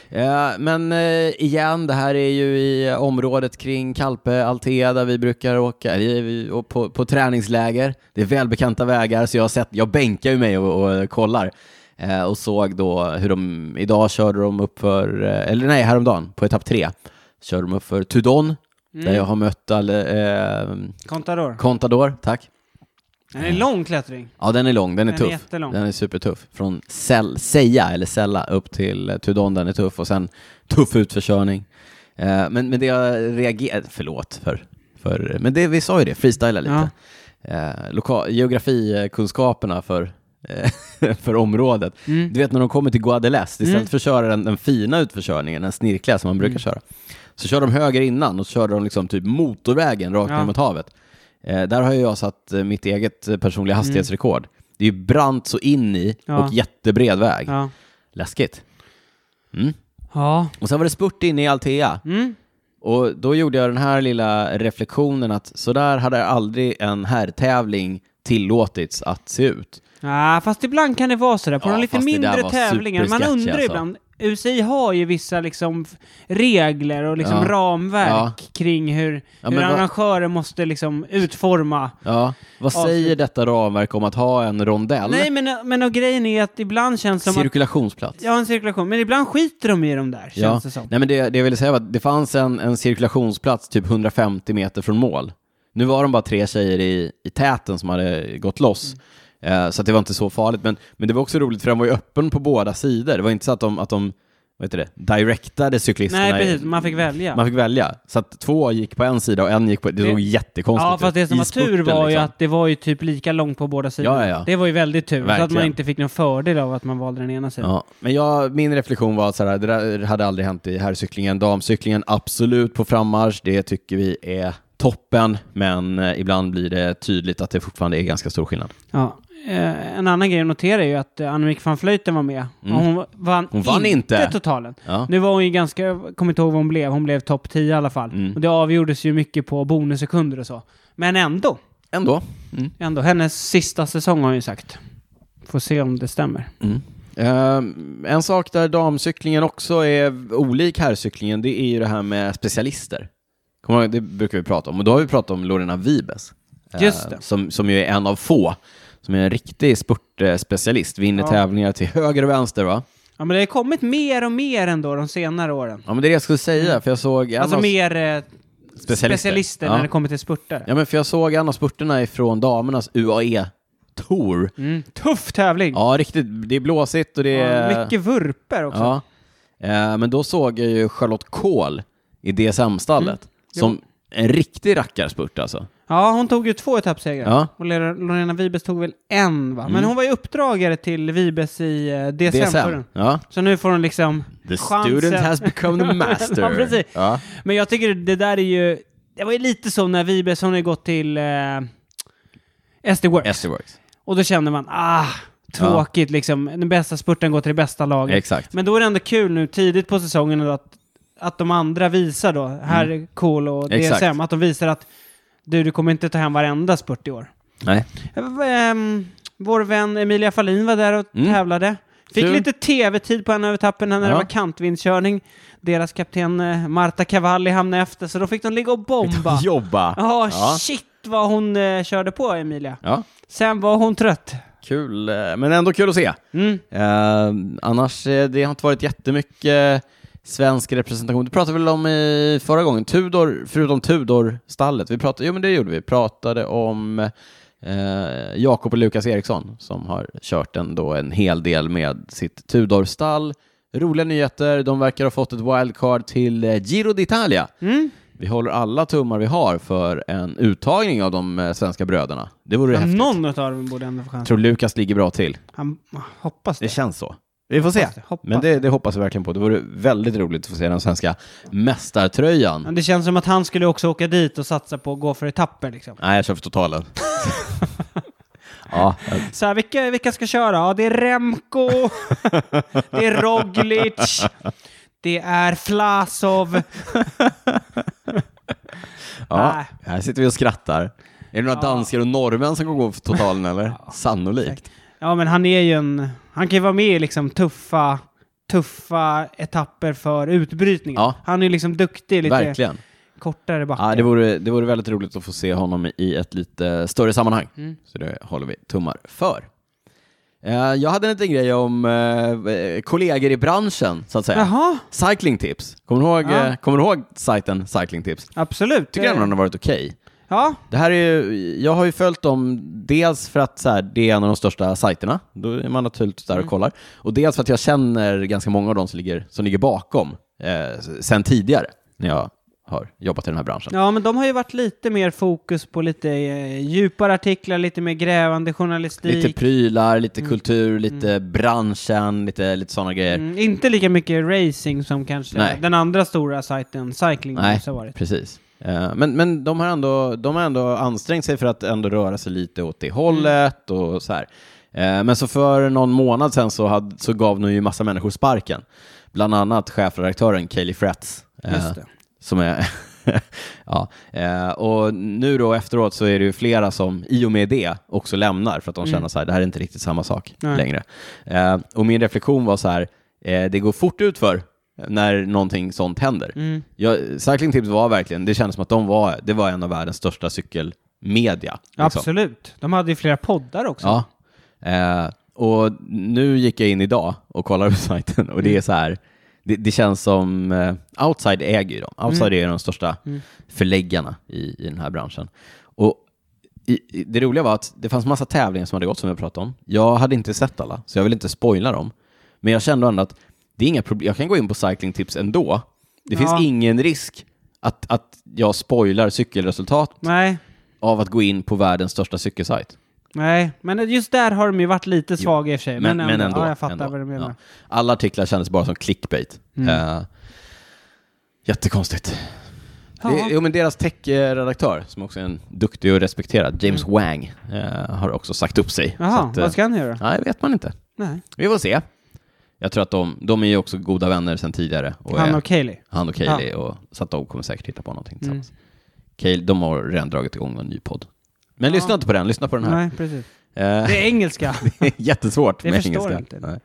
Eh, Men eh, igen, det här är ju i eh, området kring Kalpe, Altea, där vi brukar åka eller, vi- och på, på träningsläger. Det är välbekanta vägar, så jag, har sett, jag bänkar ju mig och, och kollar. Eh, Och såg då hur de, idag körde de upp för, eh, eller nej, häromdagen, på etapp tre, körde de upp för Tudon,
Mm.
där jag har mött alle, eh,
Contador.
Contador, tack.
Det är en lång klättring.
Ja, den är lång, den är
Den är
tuff.
jättelång.
Den är supertuff. Från Sel- Seja, eller Sella, upp till eh, Tudon, den är tuff. Och sen tuff utförskörning. Eh, men, men det jag reagerade... Förlåt för... för men det, vi sa ju det, freestyla lite. Eh, loka- geografikunskaperna för, eh, (laughs) för området. Du vet när de kommer till Guadeleste, istället
Mm.
för att köra den, den fina utförskörningen, den snirkliga som man brukar köra, så kör de höger innan och så körde de liksom typ motorvägen rakt
Ja.
ner mot havet. Eh, där har ju jag satt eh, mitt eget eh, personliga hastighetsrekord. Det är ju brant så in i
Mm. Ja.
och jättebred väg.
Ja.
Läskigt. Mm.
Ja.
Och sen var det spurt in i Altea.
Mm.
Och då gjorde jag den här lilla reflektionen att så där hade aldrig en herrtävling tillåtits att se ut.
Ja, Ah, fast ibland kan det vara sådär. På
Ja,
de lite
fast det där
mindre
var
tävlingar. Man
supersketchy,
undrar
alltså.
ibland. UCI har ju vissa liksom f- regler och liksom
Ja.
ramverk
Ja.
kring hur,
Ja,
hur
men vad-
arrangörer måste liksom utforma.
Ja. Vad
Avslut.
säger detta ramverk om att ha en rondell?
Nej, men, men och grejen är att ibland känns det som att...
Cirkulationsplats.
Ja, en cirkulation. Men ibland skiter de i dem där, känns
Ja.
det som.
Nej, men det, det jag ville säga var att det fanns en, en cirkulationsplats typ 150 meter från mål. Nu var de bara tre tjejer i, i täten som hade gått loss.
Mm.
Eh, så att det var inte så farligt. Men, men det var också roligt för den var ju öppen på båda sidor. Det var inte så att de, att de vad heter det, directade cyklisterna.
Nej,
i-
precis. Man fick välja.
Man fick välja. Så att två gick på en sida och en gick på... Det
Det-
såg jättekonstigt
Ja, fast det
ut.
som
I
var tur
spurten,
var ju
liksom.
att det var ju typ lika långt på båda sidor.
Ja, ja, ja.
Det var ju väldigt tur, så att man
Verkligen.
inte fick någon fördel av att man valde den ena sidan.
Ja, men jag, min reflektion var att så här, det där hade aldrig hänt i herrcyklingen. Damcyklingen absolut på frammarsch, det tycker vi är toppen, men eh, ibland blir det tydligt att det fortfarande är ganska stor skillnad.
Ja. Eh, en annan grej att notera är ju att eh, Annemiek van Vleuten var med.
Mm.
Och hon vann,
Hon vann inte.
totalen.
Ja.
Nu var hon ju ganska, jag kommer inte ihåg vad hon blev, hon blev topp 10 i alla fall.
Mm.
Och det avgjordes ju mycket på bonussekunder och så. Men ändå,
Ändå. Mm.
ändå. Hennes sista säsong har hon ju sagt. Får se om det stämmer.
Mm. Eh, en sak där damcyklingen också är olik herrcyklingen, det är ju det här med specialister. Kommer du ihåg, Det brukar vi prata om, och då har vi pratat om Lorena Vibes. eh,
Just det.
Som, som ju är en av få, som är en riktig spurtspecialist, vinner
Ja.
tävlingar till höger och vänster va?
Ja, men det har ju kommit mer och mer ändå de senare åren.
Ja men det är det jag skulle säga, för jag såg en
Alltså
av...
mer eh,
Specialister.
specialister,
Ja.
när det kommer till spurtare.
Ja men för jag såg en av spurterna ifrån damernas UAE Tour.
Mm. Tuff tävling!
Ja riktigt, det är blåsigt och det är...
Och mycket vurper också.
Ja. Eh, Men då såg jag ju Charlotte Kohl i DSM-stallet,
Mm.
som en riktig rackarspurt alltså.
Ja, hon tog ju två etappsegrar.
Ja. Mm.
Och Lore- Lorena Vibes tog väl en, va? Men hon var ju uppdragare till Vibes i eh, DSM.
DSM.
DSM.
Ja.
Så nu får hon liksom
The
chansen.
student has become
(laughs)
the master.
Ja, precis.
Ja.
Men jag tycker det där är ju... Det var ju lite som när Vibes, hon har ju gått till eh, SD Works.
SD E Works.
Och då kände man, ah, tråkigt liksom. Den bästa spurten går till det bästa laget.
Exakt.
Men då är det ändå kul nu tidigt på säsongen då att, att de andra visar då, här är Kohl och DSM,
Mm. Exakt.
att de visar att du, du kommer inte ta hem varenda spurt i år.
Nej.
Eh, Ehm, vår vän Emilia Fahlin var där och
Mm.
tävlade. Fick
Kul.
lite tv-tid på en över tappen när det
Ja.
var kantvindskörning. Deras kapten eh, Marta Cavalli hamnade efter, så då fick de ligga
(laughs)
och bomba.
Jobba!
Ja,
Ja.
shit vad hon eh, körde på, Emilia.
Ja,
Sen var hon trött.
kul, eh, men ändå kul att se.
Mm.
Eh, annars, eh, det har inte varit jättemycket svensk representation. Du pratade väl om i förra gången, Tudor, förutom Tudor-stallet. Vi pratade, jo men det gjorde vi, pratade om eh, Jakob och Lukas Eriksson som har kört ändå en hel del med sitt Tudor-stall. Roliga nyheter, de verkar ha fått ett wildcard till eh, Giro d'Italia.
Mm.
Vi håller alla tummar vi har för en uttagning av de eh, svenska bröderna. Det vore häftigt.
Någon av dem borde ändå få
Jag
chans.
tror Lukas ligger bra till.
Han, ah, hoppas
Det
det.
känns så. Vi får se.
Hoppas det, hoppas
Men det, det hoppas vi verkligen på. Det vore väldigt roligt att få se den svenska mästartröjan.
Men det känns som att han skulle också åka dit och satsa på att gå för etapper liksom.
Nej, jag kör för
(laughs)
totalen. ja,
Så här, vilka, vilka ska köra? Ja, det
(laughs)
är Remco, det är Roglic, det är Flasov.
ja.
Nej.
Här sitter vi och skrattar. Är det några
Äh. Ja.
danskar och norrmän som kommer gå för totalen
(laughs)
eller? Sannolikt.
Ja, men han är ju en... Han kan ju vara med i liksom tuffa, tuffa etapper för utbrytningar.
Ja.
Han är ju liksom duktig, lite
Verkligen.
kortare backe.
Ja, det, vore, det vore väldigt roligt att få se honom i ett lite större sammanhang.
Mm.
Så det håller vi tummar för. Eh, Jag hade en liten grej om eh, kollegor i branschen, så att säga.
Jaha,
Cyclingtips. Kommer du ihåg,
Ja.
eh, kommer du ihåg sajten Cyclingtips?
absolut.
Tycker jag
Det-
ändå den har varit okej.
Ja,
Det här är ju, jag har ju följt dem dels för att så här, det är en av de största sajterna, då är man naturligtvis där och kollar, och dels för att jag känner ganska många av dem som ligger, som ligger bakom eh, sen tidigare, när jag har jobbat i den här branschen.
Ja, men de har ju varit lite mer fokus på lite eh, djupare artiklar, lite mer grävande journalistik.
Lite prylar, lite kultur, lite branschen, lite, lite sådana grejer.
Mm, inte lika mycket racing som kanske
Nej.
den andra stora sajten Cycling
Nej,
News har varit.
precis. Eh, Men, men de, har ändå, de har ändå ansträngt sig för att ändå röra sig lite åt det hållet
Mm.
och så här. Eh, Men så för någon månad sedan så, hade, så gav de ju massa människor sparken. Bland annat chefredaktören Kaeli Fretz. eh,
Just det.
Som är (laughs) ja. eh, Och nu då efteråt så är det ju flera som i och med det också lämnar för att de känner så här, det här är inte riktigt samma sak
Mm. Nej.
längre. Eh, Och min reflektion var så här, eh, det går fort ut för när någonting sånt händer.
Mm.
Ja, Cycling Tips var verkligen, det kändes som att de var, det var en av världens största cykelmedia. liksom.
Absolut. De hade ju flera poddar också.
Ja. Eh, och nu gick jag in idag och kollade på (laughs) sajten och
Mm.
det är så här, det, det känns som, eh, Outside äger ju dem.
Mm.
Outside är ju de största förläggarna i, i den här branschen. Och i, i, det roliga var att det fanns massa tävlingar som hade gått som jag pratade om. Jag hade inte sett alla, så jag vill inte spoila dem. Men jag kände ändå att det är inga problem, jag kan gå in på Cycling Tips ändå. Det
Ja.
finns ingen risk att, att jag spoilar cykelresultat
Nej,
av att gå in på världens största cykelsajt.
nej. Men just där har de ju varit lite svaga i och för sig.
Men, men ändå.
Ja, jag fattar
ändå.
vad du menar.
Ja. Alla artiklar kändes bara som clickbait.
Mm.
Eh, jättekonstigt.
Ja.
Det, jo, men deras tech-redaktör, som också är en duktig och respekterad, James Wang, eh, har också sagt upp sig.
Mm. Jaha,
Så att, eh,
vad ska han göra?
Nej, vet man inte.
Nej.
Vi får se. Jag tror att de, de är ju också goda vänner sedan tidigare. Och
Han
är,
och Mm. Kaeli.
han och Kaeli, och, så att de kommer säkert hitta på någonting tillsammans. Kaeli, de har redan dragit igång en ny podd. Men
Ja.
lyssna inte på den, lyssna på den här.
Nej, precis.
Eh,
Det
(laughs)
är engelska.
Jättesvårt
Det
med
förstår
engelska.
jag inte.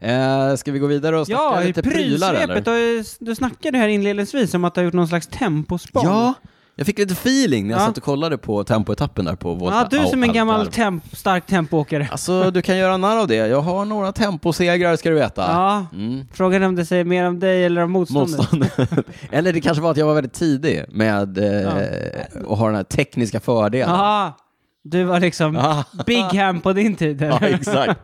Nej. Eh, ska vi gå vidare och snacka
ja, i
lite prylar eller?
prylsvepet. har ju- Du snackade ju här inledningsvis om att du har gjort någon slags tempospan.
Ja, jag fick lite feeling när jag
Ja.
satt och kollade på tempoetappen där på Volta.
Ja, du som en
Au-
gammal
Algarve.
temp, stark tempoåkare.
Alltså, du kan göra narr av det. Jag har några temposegrar ska du veta.
Ja.
Mm.
Frågan är om det säger mer om dig eller om motståndet.
Motstånd. (laughs) eller det kanske var att jag var väldigt tidig med eh, att ha den här tekniska fördelen.
Ja, du var liksom
Ah.
Big Ham på din
(laughs)
tid.
Ja,
eller?
exakt.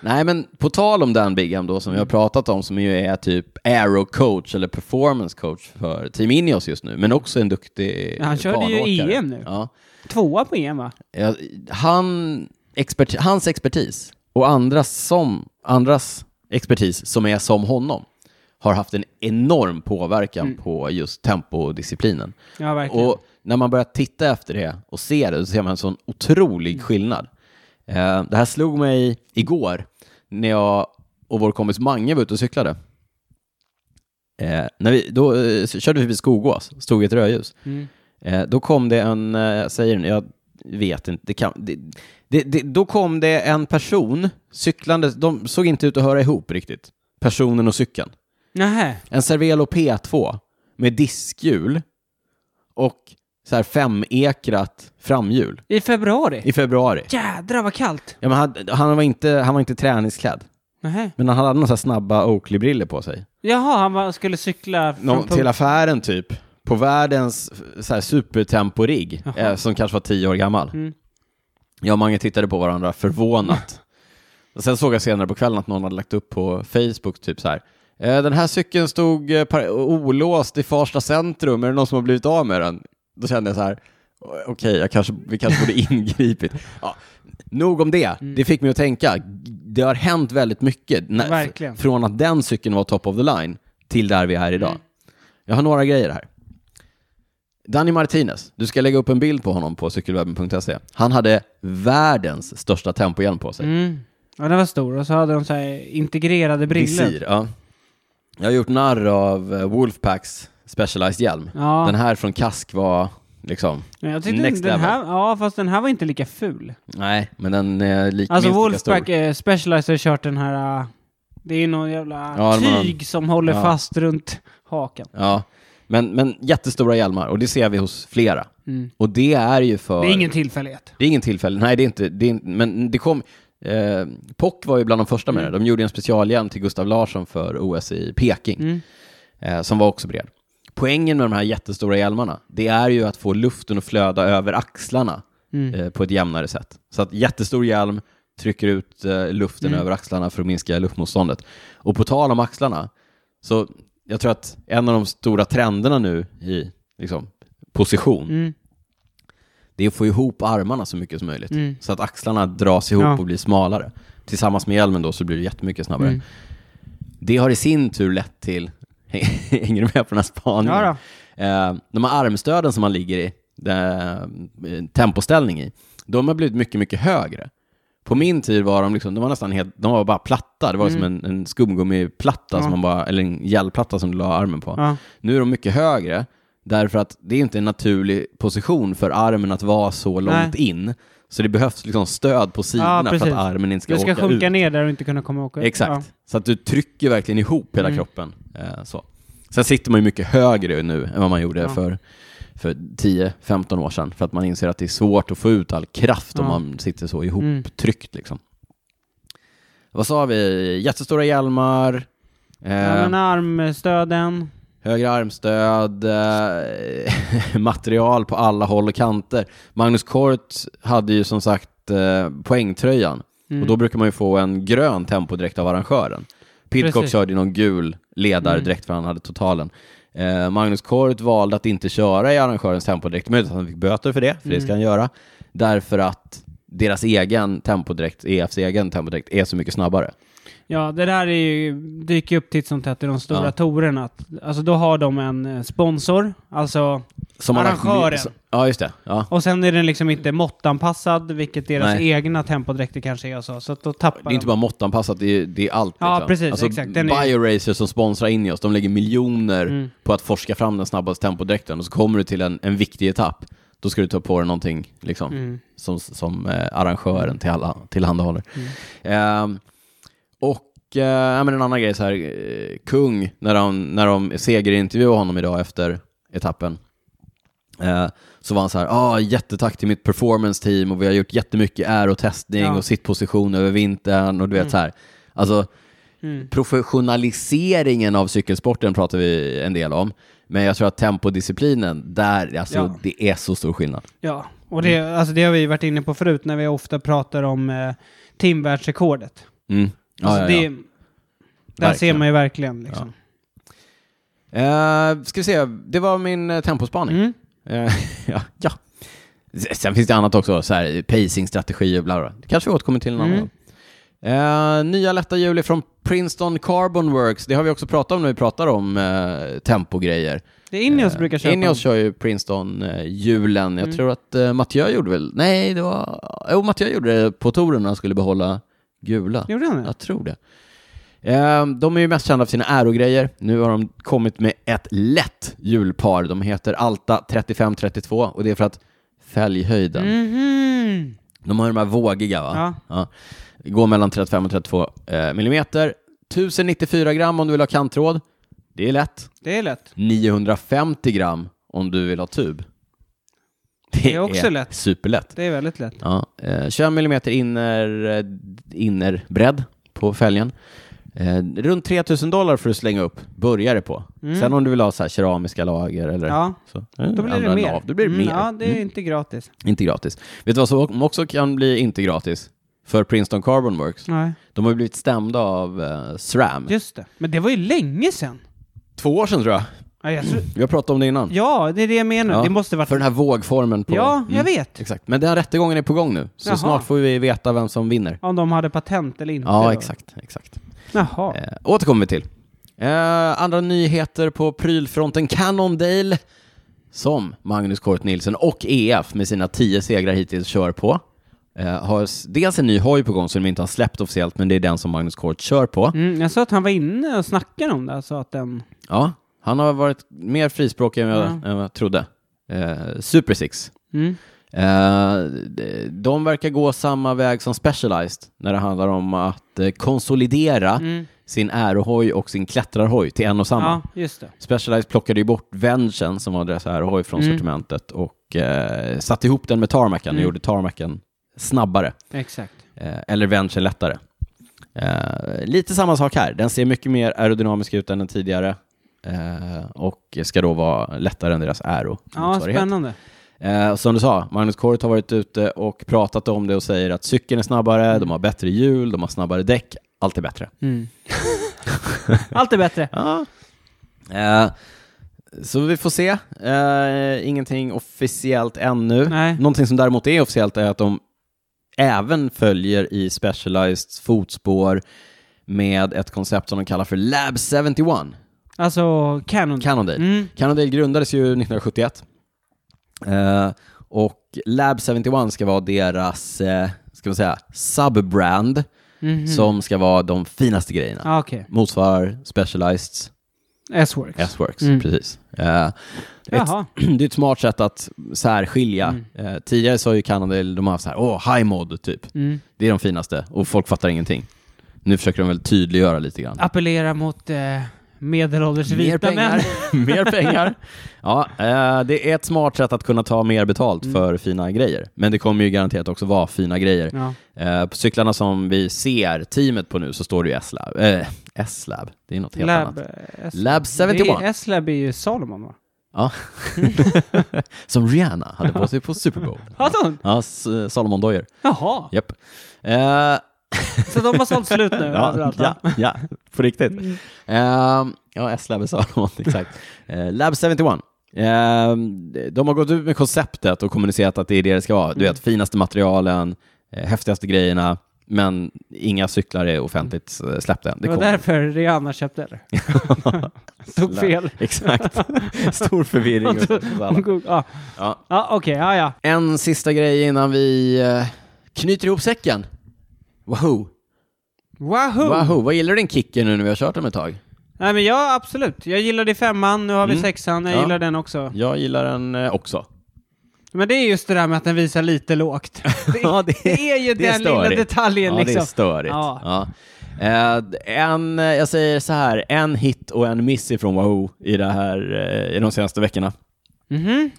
Nej, men på tal om Dan Bigham då, som
Mm.
vi har pratat om, som ju är typ aero coach eller performance coach för Team Ineos just nu, men också en duktig
Ja, han körde ju
banåkare.
EM nu.
Ja.
Tvåa på EM va?
Ja, Han, expert, hans expertis och andras, som, andras expertis som är som honom har haft en enorm påverkan
Mm.
på just tempodisciplinen.
Ja, verkligen.
Och när man börjar titta efter det och se det så ser man en sån otrolig
Mm.
skillnad. Eh, Det här slog mig igår när jag och vår kompis Mange var ute och cyklade. Eh, När vi, då eh, körde vi förbi Skogås, stod i ett rödljus.
Mm.
Eh, Då kom det en, eh, jag säger nu, jag vet inte, det, kan, det, Det, det, då kom det en person cyklande, de såg inte ut att höra ihop riktigt, personen och cykeln.
Nähä.
En Cervelo P2 med diskhjul och så här femekrat framhjul
I februari?
i februari.
Jädrar vad kallt!
Ja, men han, han, var inte, han var inte träningsklädd,
Nähä.
men han hade några så här snabba Oakley-briller på sig.
Jaha, han var, skulle cykla från
Någon,
punkt-
till affären typ, på världens f- så här, supertemporigg,
Jaha.
eh, som kanske var tio år gammal.
Mm.
Jag och Mange tittade på varandra förvånat. och sen såg jag senare på kvällen att någon hade lagt upp på Facebook typ så här. "Eh, Den här cykeln stod eh, par- olåst i Farsta centrum, är det någon som har blivit av med den? Då kände jag så här, "O- okej, jag kanske, vi kanske borde (laughs) ingripit. Ja, nog om det,
Mm.
det fick mig att tänka. Det har hänt väldigt mycket när,
Verkligen.
från att den cykeln var top of the line till där vi är idag.
Mm.
Jag har några grejer här. Danny Martinez, du ska lägga upp en bild på honom på cykelwebben.se. Han hade världens största tempohjälm på sig.
Mm. Ja, den var stor. Och så hade de så här integrerade brillor.
Visir, ja. Jag har gjort narr av eh, Wolfpacks Specialized hjälm.
Ja.
Den här från Kask var liksom,
Men jag tyckte
Next
den
level.
här, ja, fast den här var inte lika ful.
nej, men den är lik,
Alltså
minst lika stor.
Wolfpack eh, Specialized har kört den här, eh, det är någon jävla
Ja, det var
tyg som håller
Ja.
fast runt hakan.
Ja, men, men jättestora hjälmar och det ser vi hos flera.
Mm.
Och det är ju för...
Det är ingen tillfällighet.
Det är ingen tillfälle. Nej, det är inte. Det är, inte- men det kom... Eh, Pock var ju bland de första med
Mm.
det. De gjorde en specialhjälm till Gustav Larsson för OS i Peking,
Mm.
eh, som var också bred. Poängen med de här jättestora hjälmarna, det är ju att få luften att flöda över axlarna
Mm.
eh, på ett jämnare sätt. Så att jättestor hjälm trycker ut eh, luften
Mm.
över axlarna för att minska luftmotståndet. Och på tal om axlarna, så jag tror att en av de stora trenderna nu i liksom, position,
Mm.
det är att få ihop armarna så mycket som möjligt.
Mm.
Så att axlarna dras ihop
Ja.
och blir smalare. Tillsammans med hjälmen då så blir det jättemycket snabbare.
Mm.
Det har i sin tur lett till, (laughs) hänger du med på den här spaningen?
Ja, då.
Eh, de här armstöden som man ligger i, eh, tempoställning i, de har blivit mycket, mycket högre. På min tid var de, liksom, de var nästan helt, de var bara platta. Det var som en, en skumgummiplatta,
Mm. Ja.
som man bara, eller en gelplatta som du la armen på.
Ja.
Nu är de mycket högre, därför att det är inte en naturlig position för armen att vara så långt in. Så det behövs liksom stöd på sidorna för
precis.
att armen inte ska,
Du ska
åka
sjunka
ut.
ner där och inte kunna komma åka upp.
Exakt. Så att du trycker verkligen ihop hela
Mm.
kroppen. Eh, så. Sen sitter man ju mycket högre nu än vad man gjorde
Ja.
för, för 10-15 år sedan, för att man inser att det är svårt att få ut all kraft om
Ja.
man sitter så
Ja.
ihop
Mm.
tryckt liksom. Vad sa vi? Jättestora hjälmar, eh,
Ja, men armstöden.
högre armstöd, eh, (laughs) material på alla håll och kanter. Magnus Kort hade ju som sagt eh, poängtröjan
Mm.
och då brukar man ju få en grön tempodräkt av arrangören. Pidcock
Precis. Mm.
körde ju någon gul ledardräkt för han hade totalen. Eh, Magnus Kort valde att inte köra i arrangörens tempodräkt, möjligt att han fick böter för det, för det ska
Mm.
han göra, därför att deras egen tempodräkt, EFs egen tempodräkt, är så mycket snabbare.
Ja, det där är ju, dyker upp titt som tätt i de stora
Ja.
torerna. Alltså då har de en eh, sponsor, alltså,
Som har lagt-
Arrangören.
Ja, just det. Ja.
och sen är den liksom inte måttanpassad, vilket deras
Nej.
egna tempodräkter kanske är och så, så att då tappar
Det är inte
de.
bara måttanpassat, det är, det är allt. liksom. Alltså,
Ja, precis, exakt. Den är-
BioRacer som sponsrar in i oss, de lägger miljoner
Mm.
på att forska fram den snabbaste tempodräkten och så kommer du till en, en viktig etapp, då ska du ta på dig någonting liksom,
Mm.
som, som eh, arrangören till alla, tillhandahåller.
Mm.
Ehm, och eh, ja, men en annan grej, så här, eh, Kung, när de, när de segerintervjuade honom idag efter etappen, eh, så var han så här, ah, jättetack till mitt performance team och vi har gjort jättemycket aerotestning
Ja.
och sittposition över vintern och du vet så här. Alltså
Mm.
professionaliseringen av cykelsporten pratar vi en del om, men jag tror att tempodisciplinen, där, alltså
Ja.
det är så stor skillnad.
Ja, och det,
Mm.
alltså, det har vi varit inne på förut när vi ofta pratar om eh, timvärldsrekordet.
Mm. Ja,
Alltså,
ja,
det,
ja.
Där ser
Verkligen.
man ju verkligen liksom.
Eh, ska vi se, det var min eh, tempospaning.
Mm.
Eh, (laughs) ja, ja. S- Sen finns det annat också, så här, pacing-strategi och bla bla. Det kanske vi återkommer till en annan
Mm.
gång. Eh, nya lätta hjul är från Princeton Carbon Works. Det har vi också pratat om när vi pratar om eh, tempogrejer.
Det är Ineos brukar köpa.
Eh, Ineos kör ju Princeton-hjulen. Jag
Mm.
tror att eh, Mathieu gjorde väl... Nej, det var... Jo, Mathieu gjorde det på touren när han skulle behålla gula.
Gjorde han det?
(laughs) Jag tror det. Eh, De är ju mest kända för sina aerogrejer. Nu har de kommit med ett lätt hjulpar. De heter Alta 3532 och det är för att fälghöjden
Mhm.
De har ju de här vågiga va?
Mm. Ja.
Går mellan 35 och 32 eh, millimeter. 1094 gram om du vill ha kanttråd. Det är lätt.
Det är lätt.
950 gram om du vill ha tub.
Det är också lätt.
Superlätt.
Det är väldigt lätt.
Ja, eh, 21 millimeter inner, eh, innerbredd på fälgen. Eh, runt 3000 dollar för att slänga upp börjar det på.
Mm.
Sen om du vill ha så här keramiska lager eller
Ja,
så. eh,
då blir
andra
det mer.
nav. Då blir det
Mm,
mer.
Ja, det är inte gratis.
Inte gratis. Vet du vad som också kan bli inte gratis? För Princeton Carbon Works.
Nej,
De har ju blivit stämda av eh, SRAM.
just det. Men det var ju länge sedan.
Två år sedan tror jag.
Ja, jag tror-
Vi har pratat om det innan.
ja det är det jag menar.
Ja,
Det måste varit...
För den här vågformen på...
Ja,
Mm,
jag vet.
Exakt. Men den här rättegången är på gång nu. Så
Jaha.
snart får vi veta vem som vinner.
Om de hade patent eller inte.
Ja,
då.
exakt. exakt.
Jaha.
Eh, återkommer vi till. Eh, andra nyheter på prylfronten. Cannondale, som Magnus Kort Nilsson och EF med sina tio segrar hittills kör på, eh, har s- dels en ny hoj på gång som de inte har släppt officiellt, men det är den som Magnus Kort kör på.
Mm, jag sa att han var inne och snackade om det, alltså att den...
Ja, han har varit mer frispråkig än jag,
Ja.
än jag trodde. Eh, Super Six.
Mm.
Eh, de- de verkar gå samma väg som Specialized när det handlar om att eh, konsolidera
Mm.
sin ärohoj och sin klättrarhoj till en och samma.
Ja, just det.
Specialized plockade ju bort Vengeance som var deras ärohoj från
Mm.
sortimentet och eh, satte ihop den med Tarmacen och
Mm.
gjorde Tarmacen snabbare.
Exakt.
Eh, eller Venture lättare. Eh, lite samma sak här. Den ser mycket mer aerodynamisk ut än den tidigare eh, och ska då vara lättare än deras Aero.
Ja, spännande.
Eh, som du sa, Magnus Kort har varit ute och pratat om det och säger att cykeln är snabbare, de har bättre hjul, de har snabbare däck, allt är bättre. (laughs)
Mm. Allt är bättre.
Ja. Eh, så vi får se. Eh, ingenting officiellt ännu.
Nej.
Någonting som däremot är officiellt är att de även följer i Specialized fotspår med ett koncept som de kallar för Lab 71,
Alltså, Canon.
Cannondale.
Mm.
Cannondale grundades ju 1971. Eh, och Lab 71 ska vara deras, eh, ska man säga, subbrand
Mhm.
som ska vara de finaste grejerna.
Ja, Okej.
Motsvarar Specializeds
S-Works.
S-Works,
Mm.
precis. Eh, ett,
Jaha.
(clears throat) det är ett smart sätt att särskilja. Eh, tidigare så har ju Cannondale, de har haft så här, åh, high mod typ.
Mm.
Det är de finaste och folk fattar ingenting. Nu försöker de väl tydliggöra lite grann.
Appellera mot eh, medelålders
Mer
vita män.
pengar. (laughs) mer pengar. Ja, eh, det är ett smart sätt att kunna ta mer
Mm.
betalt för fina grejer. Men det kommer ju garanterat också vara fina grejer.
Ja.
Eh, på cyklarna som vi ser teamet på nu så står det ju S-Lab. Eh, S-Lab, det är något helt
Lab,
annat.
eh, S-
Lab 71.
Det är- S-Lab är ju Salomon va?
Ja. (laughs) som Rihanna hade på sig på Super
(laughs)
Bowl.
Hade hon?
Ja, S- Salomon Doyer.
Jaha.
Japp. Eh,
Så de har sålt slut nu
Ja,
överallt?
ja,
va?
ja, på riktigt. Mm. Ehm, ja, S-Lab är (laughs) Salomon, exakt. Eh, Lab 71. Ehm, de har gått ut med konceptet och kommunicerat att det är det det ska vara. Du vet, finaste materialen, eh, häftigaste grejerna, men inga cyklar är offentligt eh, släppta än.
Det var
kommer.
därför Rihanna köpte det. Tog fel.
(laughs) Exakt. (laughs) Stor (laughs) förvirring. hos alla.
Ja,
Ja.
ja okej, ja, ja.
En sista grej innan vi eh, knyter ihop säcken. Wahoo!
Wahoo!
Wahoo! Vad gillar du din kicker nu när vi har kört dem ett tag?
Nej men ja, absolut. Jag gillade i femman, nu har vi
Mm.
sexan, jag
Ja.
gillar den också.
Jag gillar den eh, också.
Men det är just det där med att den visar
(laughs)
lite lågt. Det,
Ja, det-
det är ju
det är
den lilla
störigt.
detaljen
Ja, det är
liksom.
störigt.
Ja.
Ja. Eh, en, eh, jag säger så här, en hit och en miss ifrån Wahoo i, det här, eh, i de senaste veckorna.
Mhm.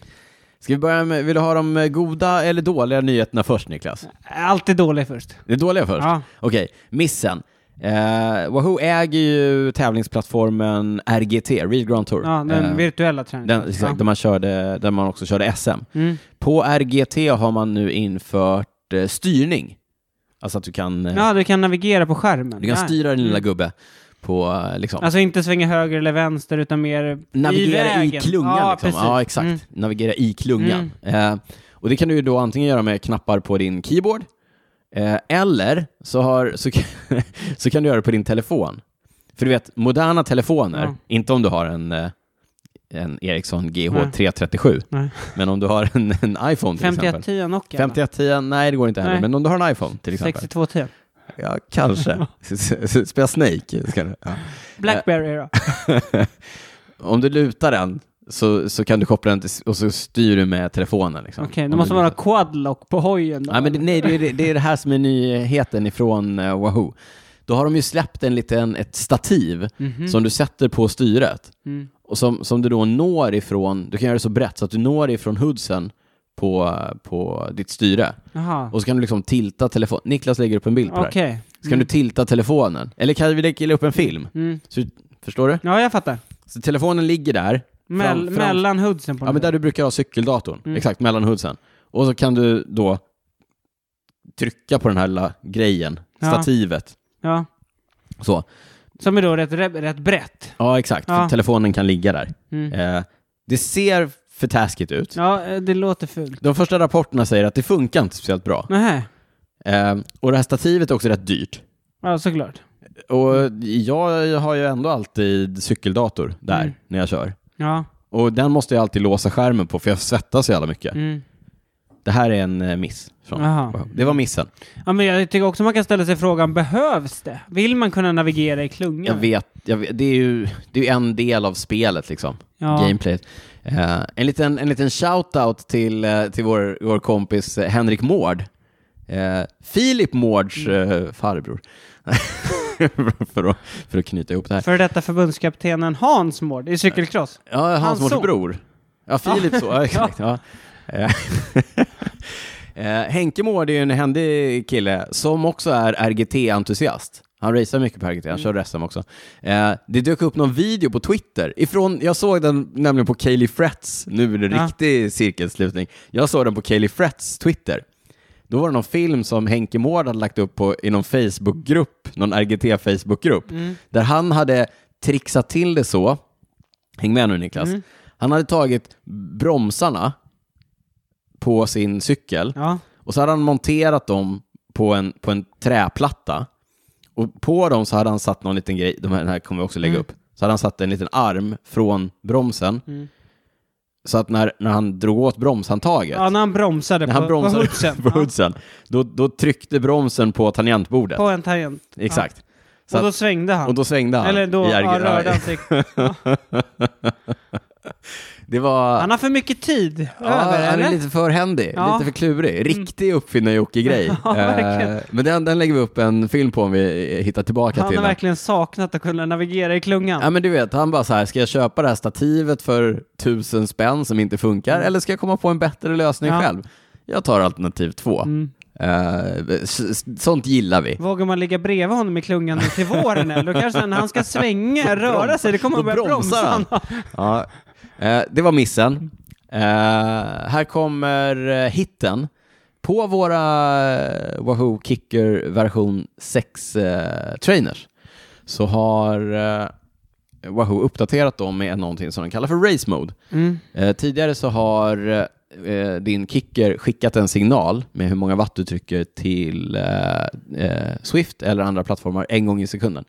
Ska vi börja med, vill du ha de eh, goda eller dåliga nyheterna först Niklas?
Alltid dålig först.
Det är dåliga först?
Ja.
Okej, missen. Eh, Wahoo äger ju tävlingsplattformen RGT, Real Grand Tour.
Ja, den
Eh,
virtuella träningen.
den, exakt,
ja.
där, man körde, där man också körde SM.
Mm.
På RGT har man nu infört eh, styrning. Alltså att du kan, eh,
ja, du kan navigera på skärmen.
du kan
Ja.
styra din lilla gubbe på eh, liksom,
Mm. Alltså inte svänga höger eller vänster utan mer
Navigera i,
vägen.
klungan.
ja,
liksom.
precis.
ja exakt.
Mm.
Navigera i klungan. Eh, och det kan du ju då antingen göra med knappar på din keyboard, eh, eller så, har, så, (laughs) kan, så kan du göra det på din telefon. För du vet, moderna telefoner,
Ja.
inte om du har en, eh, en Ericsson
Nej.
GH337,
Nej.
men om du har en, en iPhone till exempel.
5110 Nokia.
5110, nej det går inte heller,
Nej.
men om du har en iPhone till exempel. Eh.
6210.
Ja,
(laughs)
kanske. (laughs) Spela Snake. Ska du. Ja. (laughs)
Blackberry då.
Om du lutar den så, så kan du koppla den till, och så styr du med telefonen. Liksom.
Okej,
Om
det måste
du-
vara quadlock på hojen då.
Nej, men det, nej det, är det, det är det här som är nyheten ifrån eh, Wahoo. Då har de ju släppt en liten, ett stativ
Mhm.
som du sätter på styret
Mm.
och som, som du då når ifrån, du kan göra det så brett så att du når ifrån hoodsen på, på ditt styre.
Jaha,
Och så kan du liksom tilta telefonen. Niklas lägger upp en bild på det här.
okej.
Så kan du tilta telefonen. Eller kan vi lägga upp en film?
Mm.
Så, förstår du?
Ja, jag fattar.
Så telefonen ligger där,
Mell,
Fram- fram-
Mellan hoodsen på Mm.
ja, men där du brukar ha cykeldatorn, exakt, mellan hoodsen. Och så kan du då trycka på den här lilla grejen,
Ja.
stativet.
ja.
Så.
Som är då rätt, re- rätt brett.
Ja, exakt.
Ja.
För telefonen kan ligga där.
Mm.
Eh, det ser för taskigt ut.
Ja, eh, det låter fult.
De första rapporterna säger att det funkar inte speciellt bra.
Nähä.
Eh, och det här stativet är också rätt dyrt.
Ja, såklart.
Och jag har ju ändå alltid cykeldator där
Mm.
när jag kör.
Ja.
Och den måste jag alltid låsa skärmen på för jag svettas så jävla mycket.
Mm.
Det här är en eh, miss. Från.
Jaha.
Det var missen.
ja, men jag tycker också man kan ställa sig frågan, behövs det? Vill man kunna navigera i klungan?
Jag vet, jag vet det är ju det är ju en del av spelet liksom.
Ja.
Gameplayet. Eh, en liten, en liten shout-out till, eh, till vår, vår kompis eh, Henrik Mård. Eh, Filip Mårds eh, farbror. (laughs) för, att, för att knyta ihop det här.
För detta förbundskaptenen Hans Mård i cykelcross.
Ja, hans,
Hans
Mårds
son.
bror. Ja, Filip
(laughs)
så. Ja, exakt. Ja. Eh, (laughs) eh, Henke Mård är ju en händig kille som också är RGT-entusiast. Han racear mycket på RGT, han
Mm.
kör SM också. Eh, det dök upp någon video på Twitter. Ifrån, jag såg den nämligen på Kaeli Frets, nu är det
Ja.
riktig cirkelslutning. Jag såg den på Kaeli Frets Twitter. Då var det någon film som Henke Mård hade lagt upp på, i någon Facebookgrupp, någon RGT-Facebookgrupp,
Mm.
där han hade trixat till det så Häng med nu Niklas.
Mm.
Han hade tagit bromsarna på sin cykel
Ja.
och så hade han monterat dem på en, på en träplatta. Och på dem så hade han satt någon liten grej, de här, den här kommer vi också lägga
Mm.
upp, så hade han satt en liten arm från bromsen.
Mm.
Så att när, när han drog åt bromshandtaget,
ja, när han bromsade,
när han
på,
bromsade
på hoodsen.
(laughs) på hoodsen, då, då tryckte bromsen på tangentbordet.
Ja, på en tangent.
Exakt. Så
och då
att,
svängde han.
och då svängde han.
Eller då
i
ja,
RG
rörde han
ja,
sig.
(laughs) det var...
Han har för mycket tid
Ja,
över,
han
eller?
är lite för händig,
Ja. Mm.
lite för klurig. Riktig uppfinnar-Jocke-grej.
(laughs) Ja, verkligen.
Eh, men den, den lägger vi upp en film på om vi eh, hittar tillbaka
Han
till
har
den.
verkligen saknat att kunna navigera i klungan.
Ja men du vet, han bara så här, ska jag köpa det här stativet för tusen spänn som inte funkar eller ska jag komma på en bättre lösning
Mm. Ja.
själv? Jag tar alternativ två.
Mm.
Eh, s- s- sånt gillar vi.
Vågar man ligga bredvid honom i klungan nu till våren eller? Då kanske när han ska svänga, röra sig, det
(laughs)
kommer
Då
att börja bromsa.
bromsar han. Ja. Eh, det var missen. Eh, här kommer eh, hitten. På våra eh, Wahoo Kicker version 6-trainers så har eh, Wahoo uppdaterat dem med någonting som de kallar för Race Mode.
Mm.
Eh, tidigare så har eh, din kicker skickat en signal med hur många watt du trycker till eh, eh, Swift eller andra plattformar en gång i sekunden.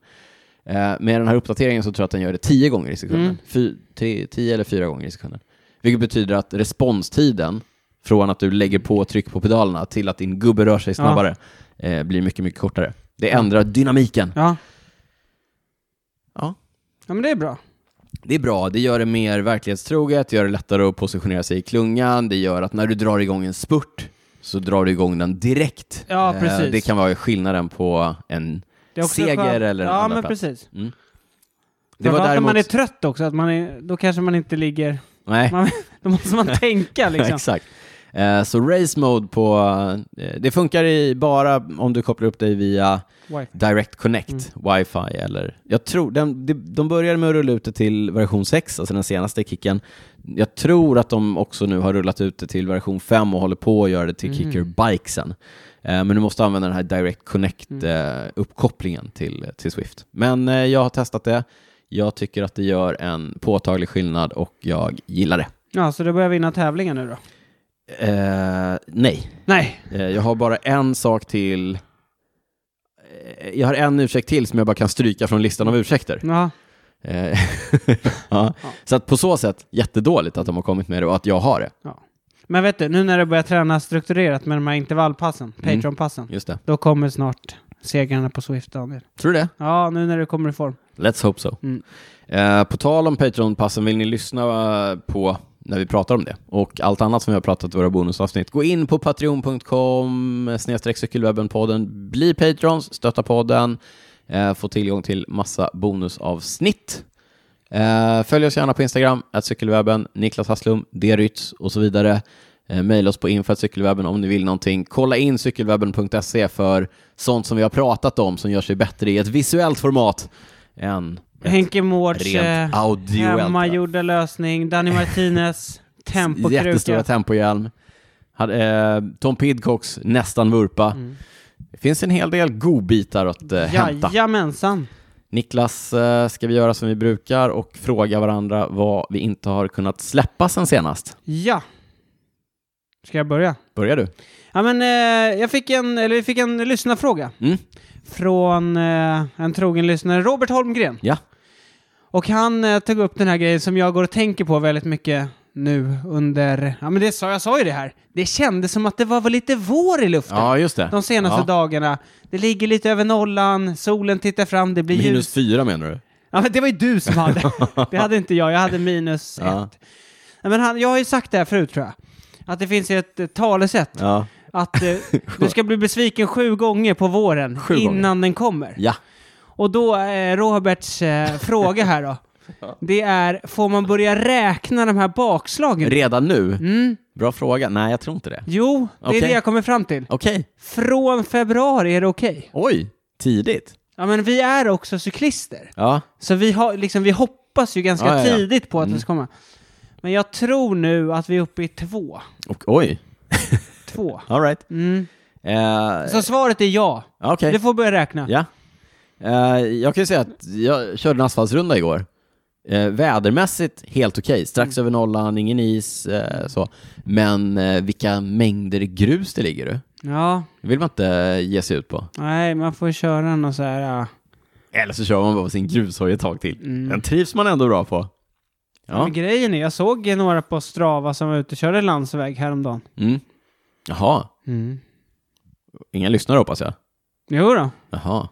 Eh, med den här uppdateringen så tror jag att den gör det tio gånger i sekunden.
Mm.
Fy, tre, tio eller fyra gånger i sekunden. Vilket betyder att responstiden från att du lägger på tryck på pedalerna till att din gubbe rör sig snabbare eh, blir mycket, mycket kortare. Det ändrar dynamiken.
Ja.
Ja.
ja, men det är bra.
Det är bra, det gör det mer verklighetstroget, det gör det lättare att positionera sig i klungan, det gör att när du drar igång en spurt så drar du igång den direkt.
Ja,
Eh,
precis.
Det kan vara skillnaden på en...
Det är också
Seger
skönt.
eller en
Ja,
andra
men
plats.
precis.
Det var
Framförallt när
däremot...
man är typ- trött också, att man är, då kanske man inte ligger... (laughs)
Nej,
Man, då måste man tänka liksom.
exakt. Eh, Så race mode på... eh, Det funkar i bara om du kopplar upp dig via
Wifi.
Direct Connect, wifi eller... Jag tror, den, de, de började med att rulla ut det till version 6, alltså den senaste kicken. Jag tror att de också nu har rullat ut det till version 5 och håller på att göra det till
Mhm.
kicker bikesen. Eh, men du måste använda den här Direct Connect-uppkopplingen till, till Swift. Men eh, jag har testat det. Jag tycker att det gör en påtaglig skillnad och jag gillar det.
Ja, så då börjar vinna tävlingen nu då.
Eh, nej,
Nej.
Eh, jag har bara en sak till. Eh, Jag har en ursäkt till som jag bara kan stryka från listan av ursäkter.
Ja.
Eh, (laughs) ja. Så att på så sätt, jättedåligt att de har kommit med det och att jag har det.
Men vet du, nu när du börjar träna strukturerat med de här intervallpassen,
Mm.
Patreon-passen,
Just det.
då kommer snart segrarna på Swift, Daniel.
Tror du det?
Ja, nu när du kommer i form.
Let's hope so.
Mm.
Eh, på tal om Patreon-passen, vill ni lyssna eh, på när vi pratar om det och allt annat som vi har pratat i våra bonusavsnitt. Gå in på patreon.com snedstreck cykelwebben-podden. Bli patrons, stötta podden, eh, få tillgång till massa bonusavsnitt. Eh, följ oss gärna på Instagram, cykelwebben, Niklas Hasslum, Derytz och så vidare. Eh, Mejla oss på info.cykelwebben om ni vill någonting. Kolla in cykelwebben.se för sånt som vi har pratat om som gör sig bättre i ett visuellt format än ett
Henke Mårds
rent
eh,
audioellt.
hemmagjorda lösning,
(laughs)
Danny Martinez,
Jättestora
tempokruka.
tempohjälm. Hade, eh, Tom Pidcocks nästan vurpa.
Mm.
Det finns en hel del godbitar att eh, hämta.
Jajamensan.
Niklas, eh, ska vi göra som vi brukar och fråga varandra vad vi inte har kunnat släppa sen senast?
Ja. Ska jag börja?
Börjar du?
Ja, men, eh, jag fick en, eller vi fick en lyssnarfråga
Mm.
från eh, en trogen lyssnare, Robert Holmgren.
Ja.
Och han eh, tog upp den här grejen som jag går och tänker på väldigt mycket nu under, ja men det sa jag sa ju det här, det kändes som att det var väl lite vår i luften
Ja, just det.
de senaste
ja.
dagarna. Det ligger lite över nollan, solen tittar fram, det blir ljus.
Minus fyra menar du?
Ja, men det var ju du
(laughs)
som hade. det hade inte jag. Jag hade minus
Ja.
ett. Nej, Men han, jag har ju sagt det här förut tror jag. Att det finns ett eh, talesätt.
Ja. (laughs)
Att eh, du ska bli besviken sju gånger på våren
Sju
innan
gånger.
den kommer.
Ja.
Och då, eh, Roberts eh, fråga
(laughs)
här då. Det är, får man börja räkna de här bakslagen?
Redan nu?
Mm.
Bra fråga. Nej, jag tror inte det.
Jo, det
Okej.
är det jag kommer fram till.
Okej.
Från februari är det okej.
Oj, tidigt.
Ja, men vi är också cyklister.
Ja.
Så vi, har, liksom, vi hoppas ju ganska
Ja, ja, ja.
tidigt på att
Mm.
det ska komma. Men jag tror nu att vi är uppe i två.
Och, oj.
Två.
All right.
Mm.
Eh,
Så svaret är ja.
Okej.
Du får börja räkna.
Ja. Eh, jag kan ju säga att jag körde en asfaltsrunda igår. Eh, vädermässigt helt okej, strax över nollan, ingen is, eh, så. Men eh, vilka mängder grus det ligger du.
Ja.
Det vill man inte eh, ge sig ut på.
Nej, man får köra någon så här... ja.
Eller så kör man bara på sin grushoj ett tag till.
Mm.
Den trivs man ändå bra på. Ja.
Men grejen är, jag såg ju några på Strava som var ute och körde landsväg häromdagen.
Mm. Jaha,
Mm.
inga lyssnare hoppas jag.
Jo då,
Jaha.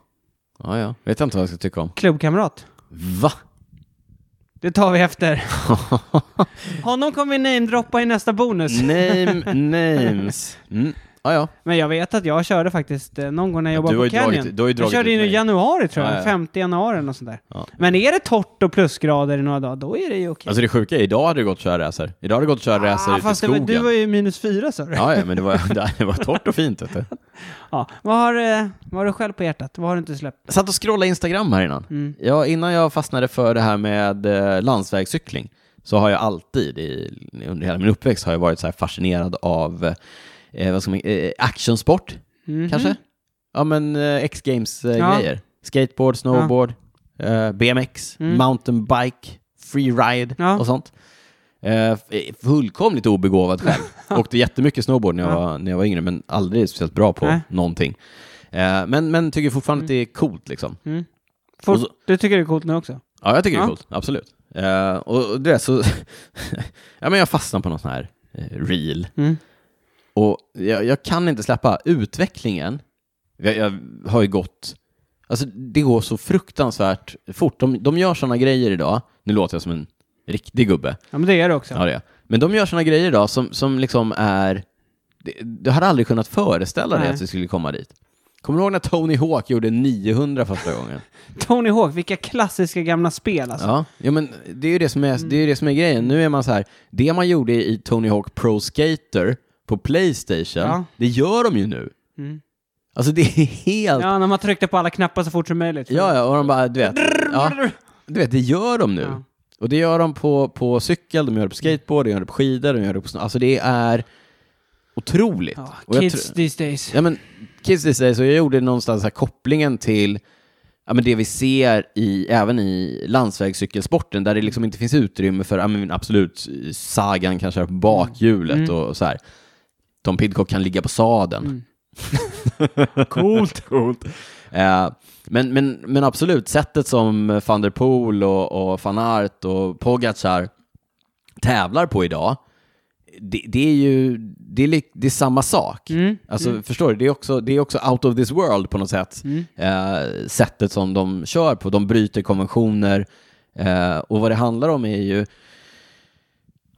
Ja, ja. Vet jag inte vad jag ska tycka om.
klubbkamrat.
Va?
Det tar
(laughs)
vi efter. Honom kommer vi namedroppa i nästa bonus.
Name names. Mm. Ja, ja.
Men jag vet att jag körde faktiskt eh, någon gång när jag
Ja,
jobbade
du har
på
ju dragit-
Canyon.
du har ju
jag
dragit
körde
ut
in i
mig.
januari tror jag,
Ja, ja.
50 januari eller något sånt där.
Ja.
Men är det torrt och plusgrader i några dagar, då är det ju okej. Ah,
Alltså det sjuka är, idag hade det gått att köra racer. Idag hade det gått att köra racer ute i
fast det var,
skogen.
du var ju minus fyra sa du. Ja.
Ja, ja, men det var, det var torrt och fint. Vet
(laughs)
du.
Vad, har, eh, vad har du själv på hjärtat? Vad har du inte släppt?
Jag satt och scrollade Instagram här innan.
Mm.
Ja, innan jag fastnade för det här med eh, landsvägscykling så har jag alltid, i, under hela min uppväxt, har jag varit så här fascinerad av eh, vad ska man, eh, actionsport,
Mhm.
kanske? Ja, men eh,
Ja.
X-Games-grejer. Skateboard, snowboard, eh, BMX,
Mm.
mountainbike, freeride
Ja.
och sånt. Eh, f- fullkomligt obegåvad
(laughs)
själv. Åkte jättemycket snowboard när jag,
Ja.
var, när jag var yngre, men aldrig speciellt bra på
Nej.
någonting. Eh, men, men tycker fortfarande att det är coolt liksom.
Mm. Fort,
Och så-
Du tycker det är coolt nu också?
Ja, jag tycker det är
Ja.
coolt. Absolut. Eh, och och det är så... (laughs) ja, men jag fastnar på någon sån här eh, reel.
Mm.
Och jag, jag kan inte släppa utvecklingen. Jag, jag har ju gått... Alltså, det går så fruktansvärt fort. De, de gör såna grejer idag. Nu låter jag som en riktig gubbe.
Ja, men det är det också.
Ja, det är. jag. Men de gör såna grejer idag som, som liksom är... det- Du hade aldrig kunnat föreställa dig
Nej.
att vi skulle komma dit. Kommer du ihåg när Tony Hawk gjorde 900 första gången?
Tony Hawk, vilka klassiska gamla spel (laughs) alltså. Mm.
Ja, ja, men det är ju det som är, det är, ju det som är grejen. Nu är man så här, det man gjorde i Tony Hawk Pro Skater på Playstation,
Ja.
det gör de ju nu.
Mm.
Alltså det är helt... Ja,
Ja, när man tryckte på alla knappar så fort som möjligt.
ja, och de bara, du vet, ja, du vet det gör de nu.
Ja.
Och det gör de på, på cykel, de gör det på skateboard, de gör det på skidor, de gör det på snö. Alltså det är otroligt.
Ja,
Och jag
kids
tror-
these days.
Ja, men Kids These Days, och jag gjorde någonstans här kopplingen till ja, men det vi ser i, även i landsvägscykelsporten, där det liksom inte finns utrymme för, ja, men absolut, Sagan kanske är på bakhjulet
Mm.
och så här. Tom Pidcock kan ligga på sadeln.
Mm.
Coolt! (laughs) Coolt. Eh, men, men, men absolut, sättet som van der Poel och, och van Aert och Pogacar tävlar på idag det, det är ju det är, lik- det är samma sak.
Mm, Mm.
Alltså, Förstår du? Det är, också, det är också out of this world på något sätt. Eh, sättet som de kör på. De bryter konventioner. Eh, och vad det handlar om är ju...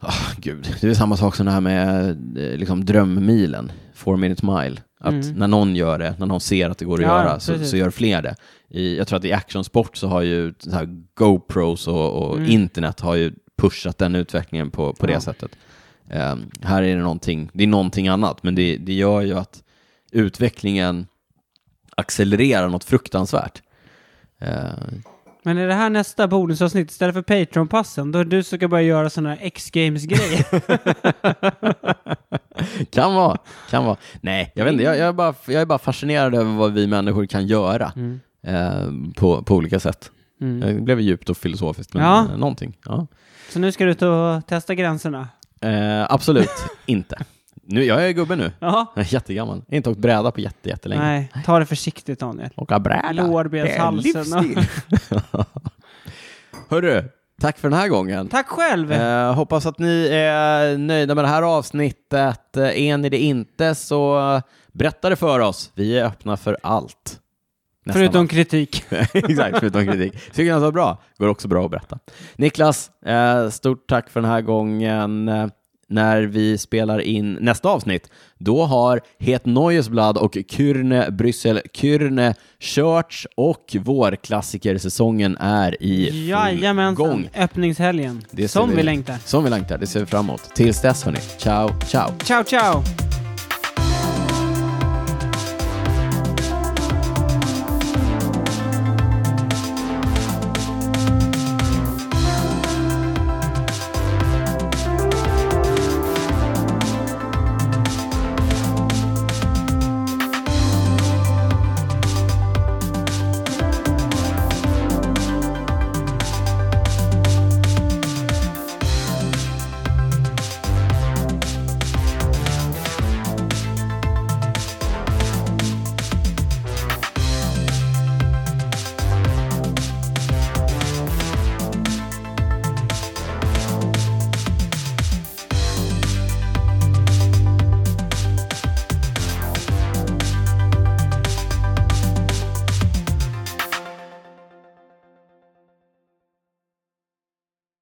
Ah, Gud, det är samma sak som det här med eh, liksom, drömmilen, four minute mile. Att när någon gör det, när någon ser att det går att
Mm. Ja,
göra, så,
precis.
så gör fler det. I, jag tror att i actionsport så har ju så här, GoPros och, och internet har ju pushat den utvecklingen på, på det
Mm. Ja.
sättet. Ehm, här är det någonting, det är någonting annat, men det, det gör ju att utvecklingen accelererar något fruktansvärt. Ehm,
Men är det här nästa bonusavsnitt? Istället för Patreon-passen, då är det du som ska börja göra sådana här
(laughs)
X-Games-grejer.
kan vara, kan vara. Nej, jag vet inte, jag, jag, är bara, jag är bara fascinerad över vad vi människor kan göra
Mm.
ehm, på, på olika sätt.
Mm.
Det blev djupt och filosofiskt, men
Ja.
eh, någonting. Ja.
Så nu ska du ut och testa gränserna.
Eh, absolut
(laughs)
inte. Nu, jag är gubbe nu.
Ja.
Jag är jättegammal. Jag har inte åkt bräda på jätte, jättelänge.
Nej, ta det försiktigt Daniel.
Åka bräda.
Lårbenshalsen.
(laughs)
(laughs)
Hörru, tack för den här gången.
Tack själv!
Eh, hoppas att ni är nöjda med det här avsnittet. Eh, Är ni det inte så eh, berätta det för oss. Vi är öppna för allt. Nästan
Förutom kritik.
allt. (laughs) Exakt, förutom kritik. Tycker ni att det var bra? Går också bra att berätta. Niklas, eh, stort tack för den här gången. Eh, När vi spelar in nästa avsnitt, då har Het Neuesblad och Kürne Bryssel Kürne körts och vårklassikersäsongen är i full gång.
Jajamensan, öppningshelgen.
Det ser
Som
vi-
vi längtar.
Som vi längtar, det ser vi fram emot. Tills dess hörni, ciao, ciao.
Ciao, ciao!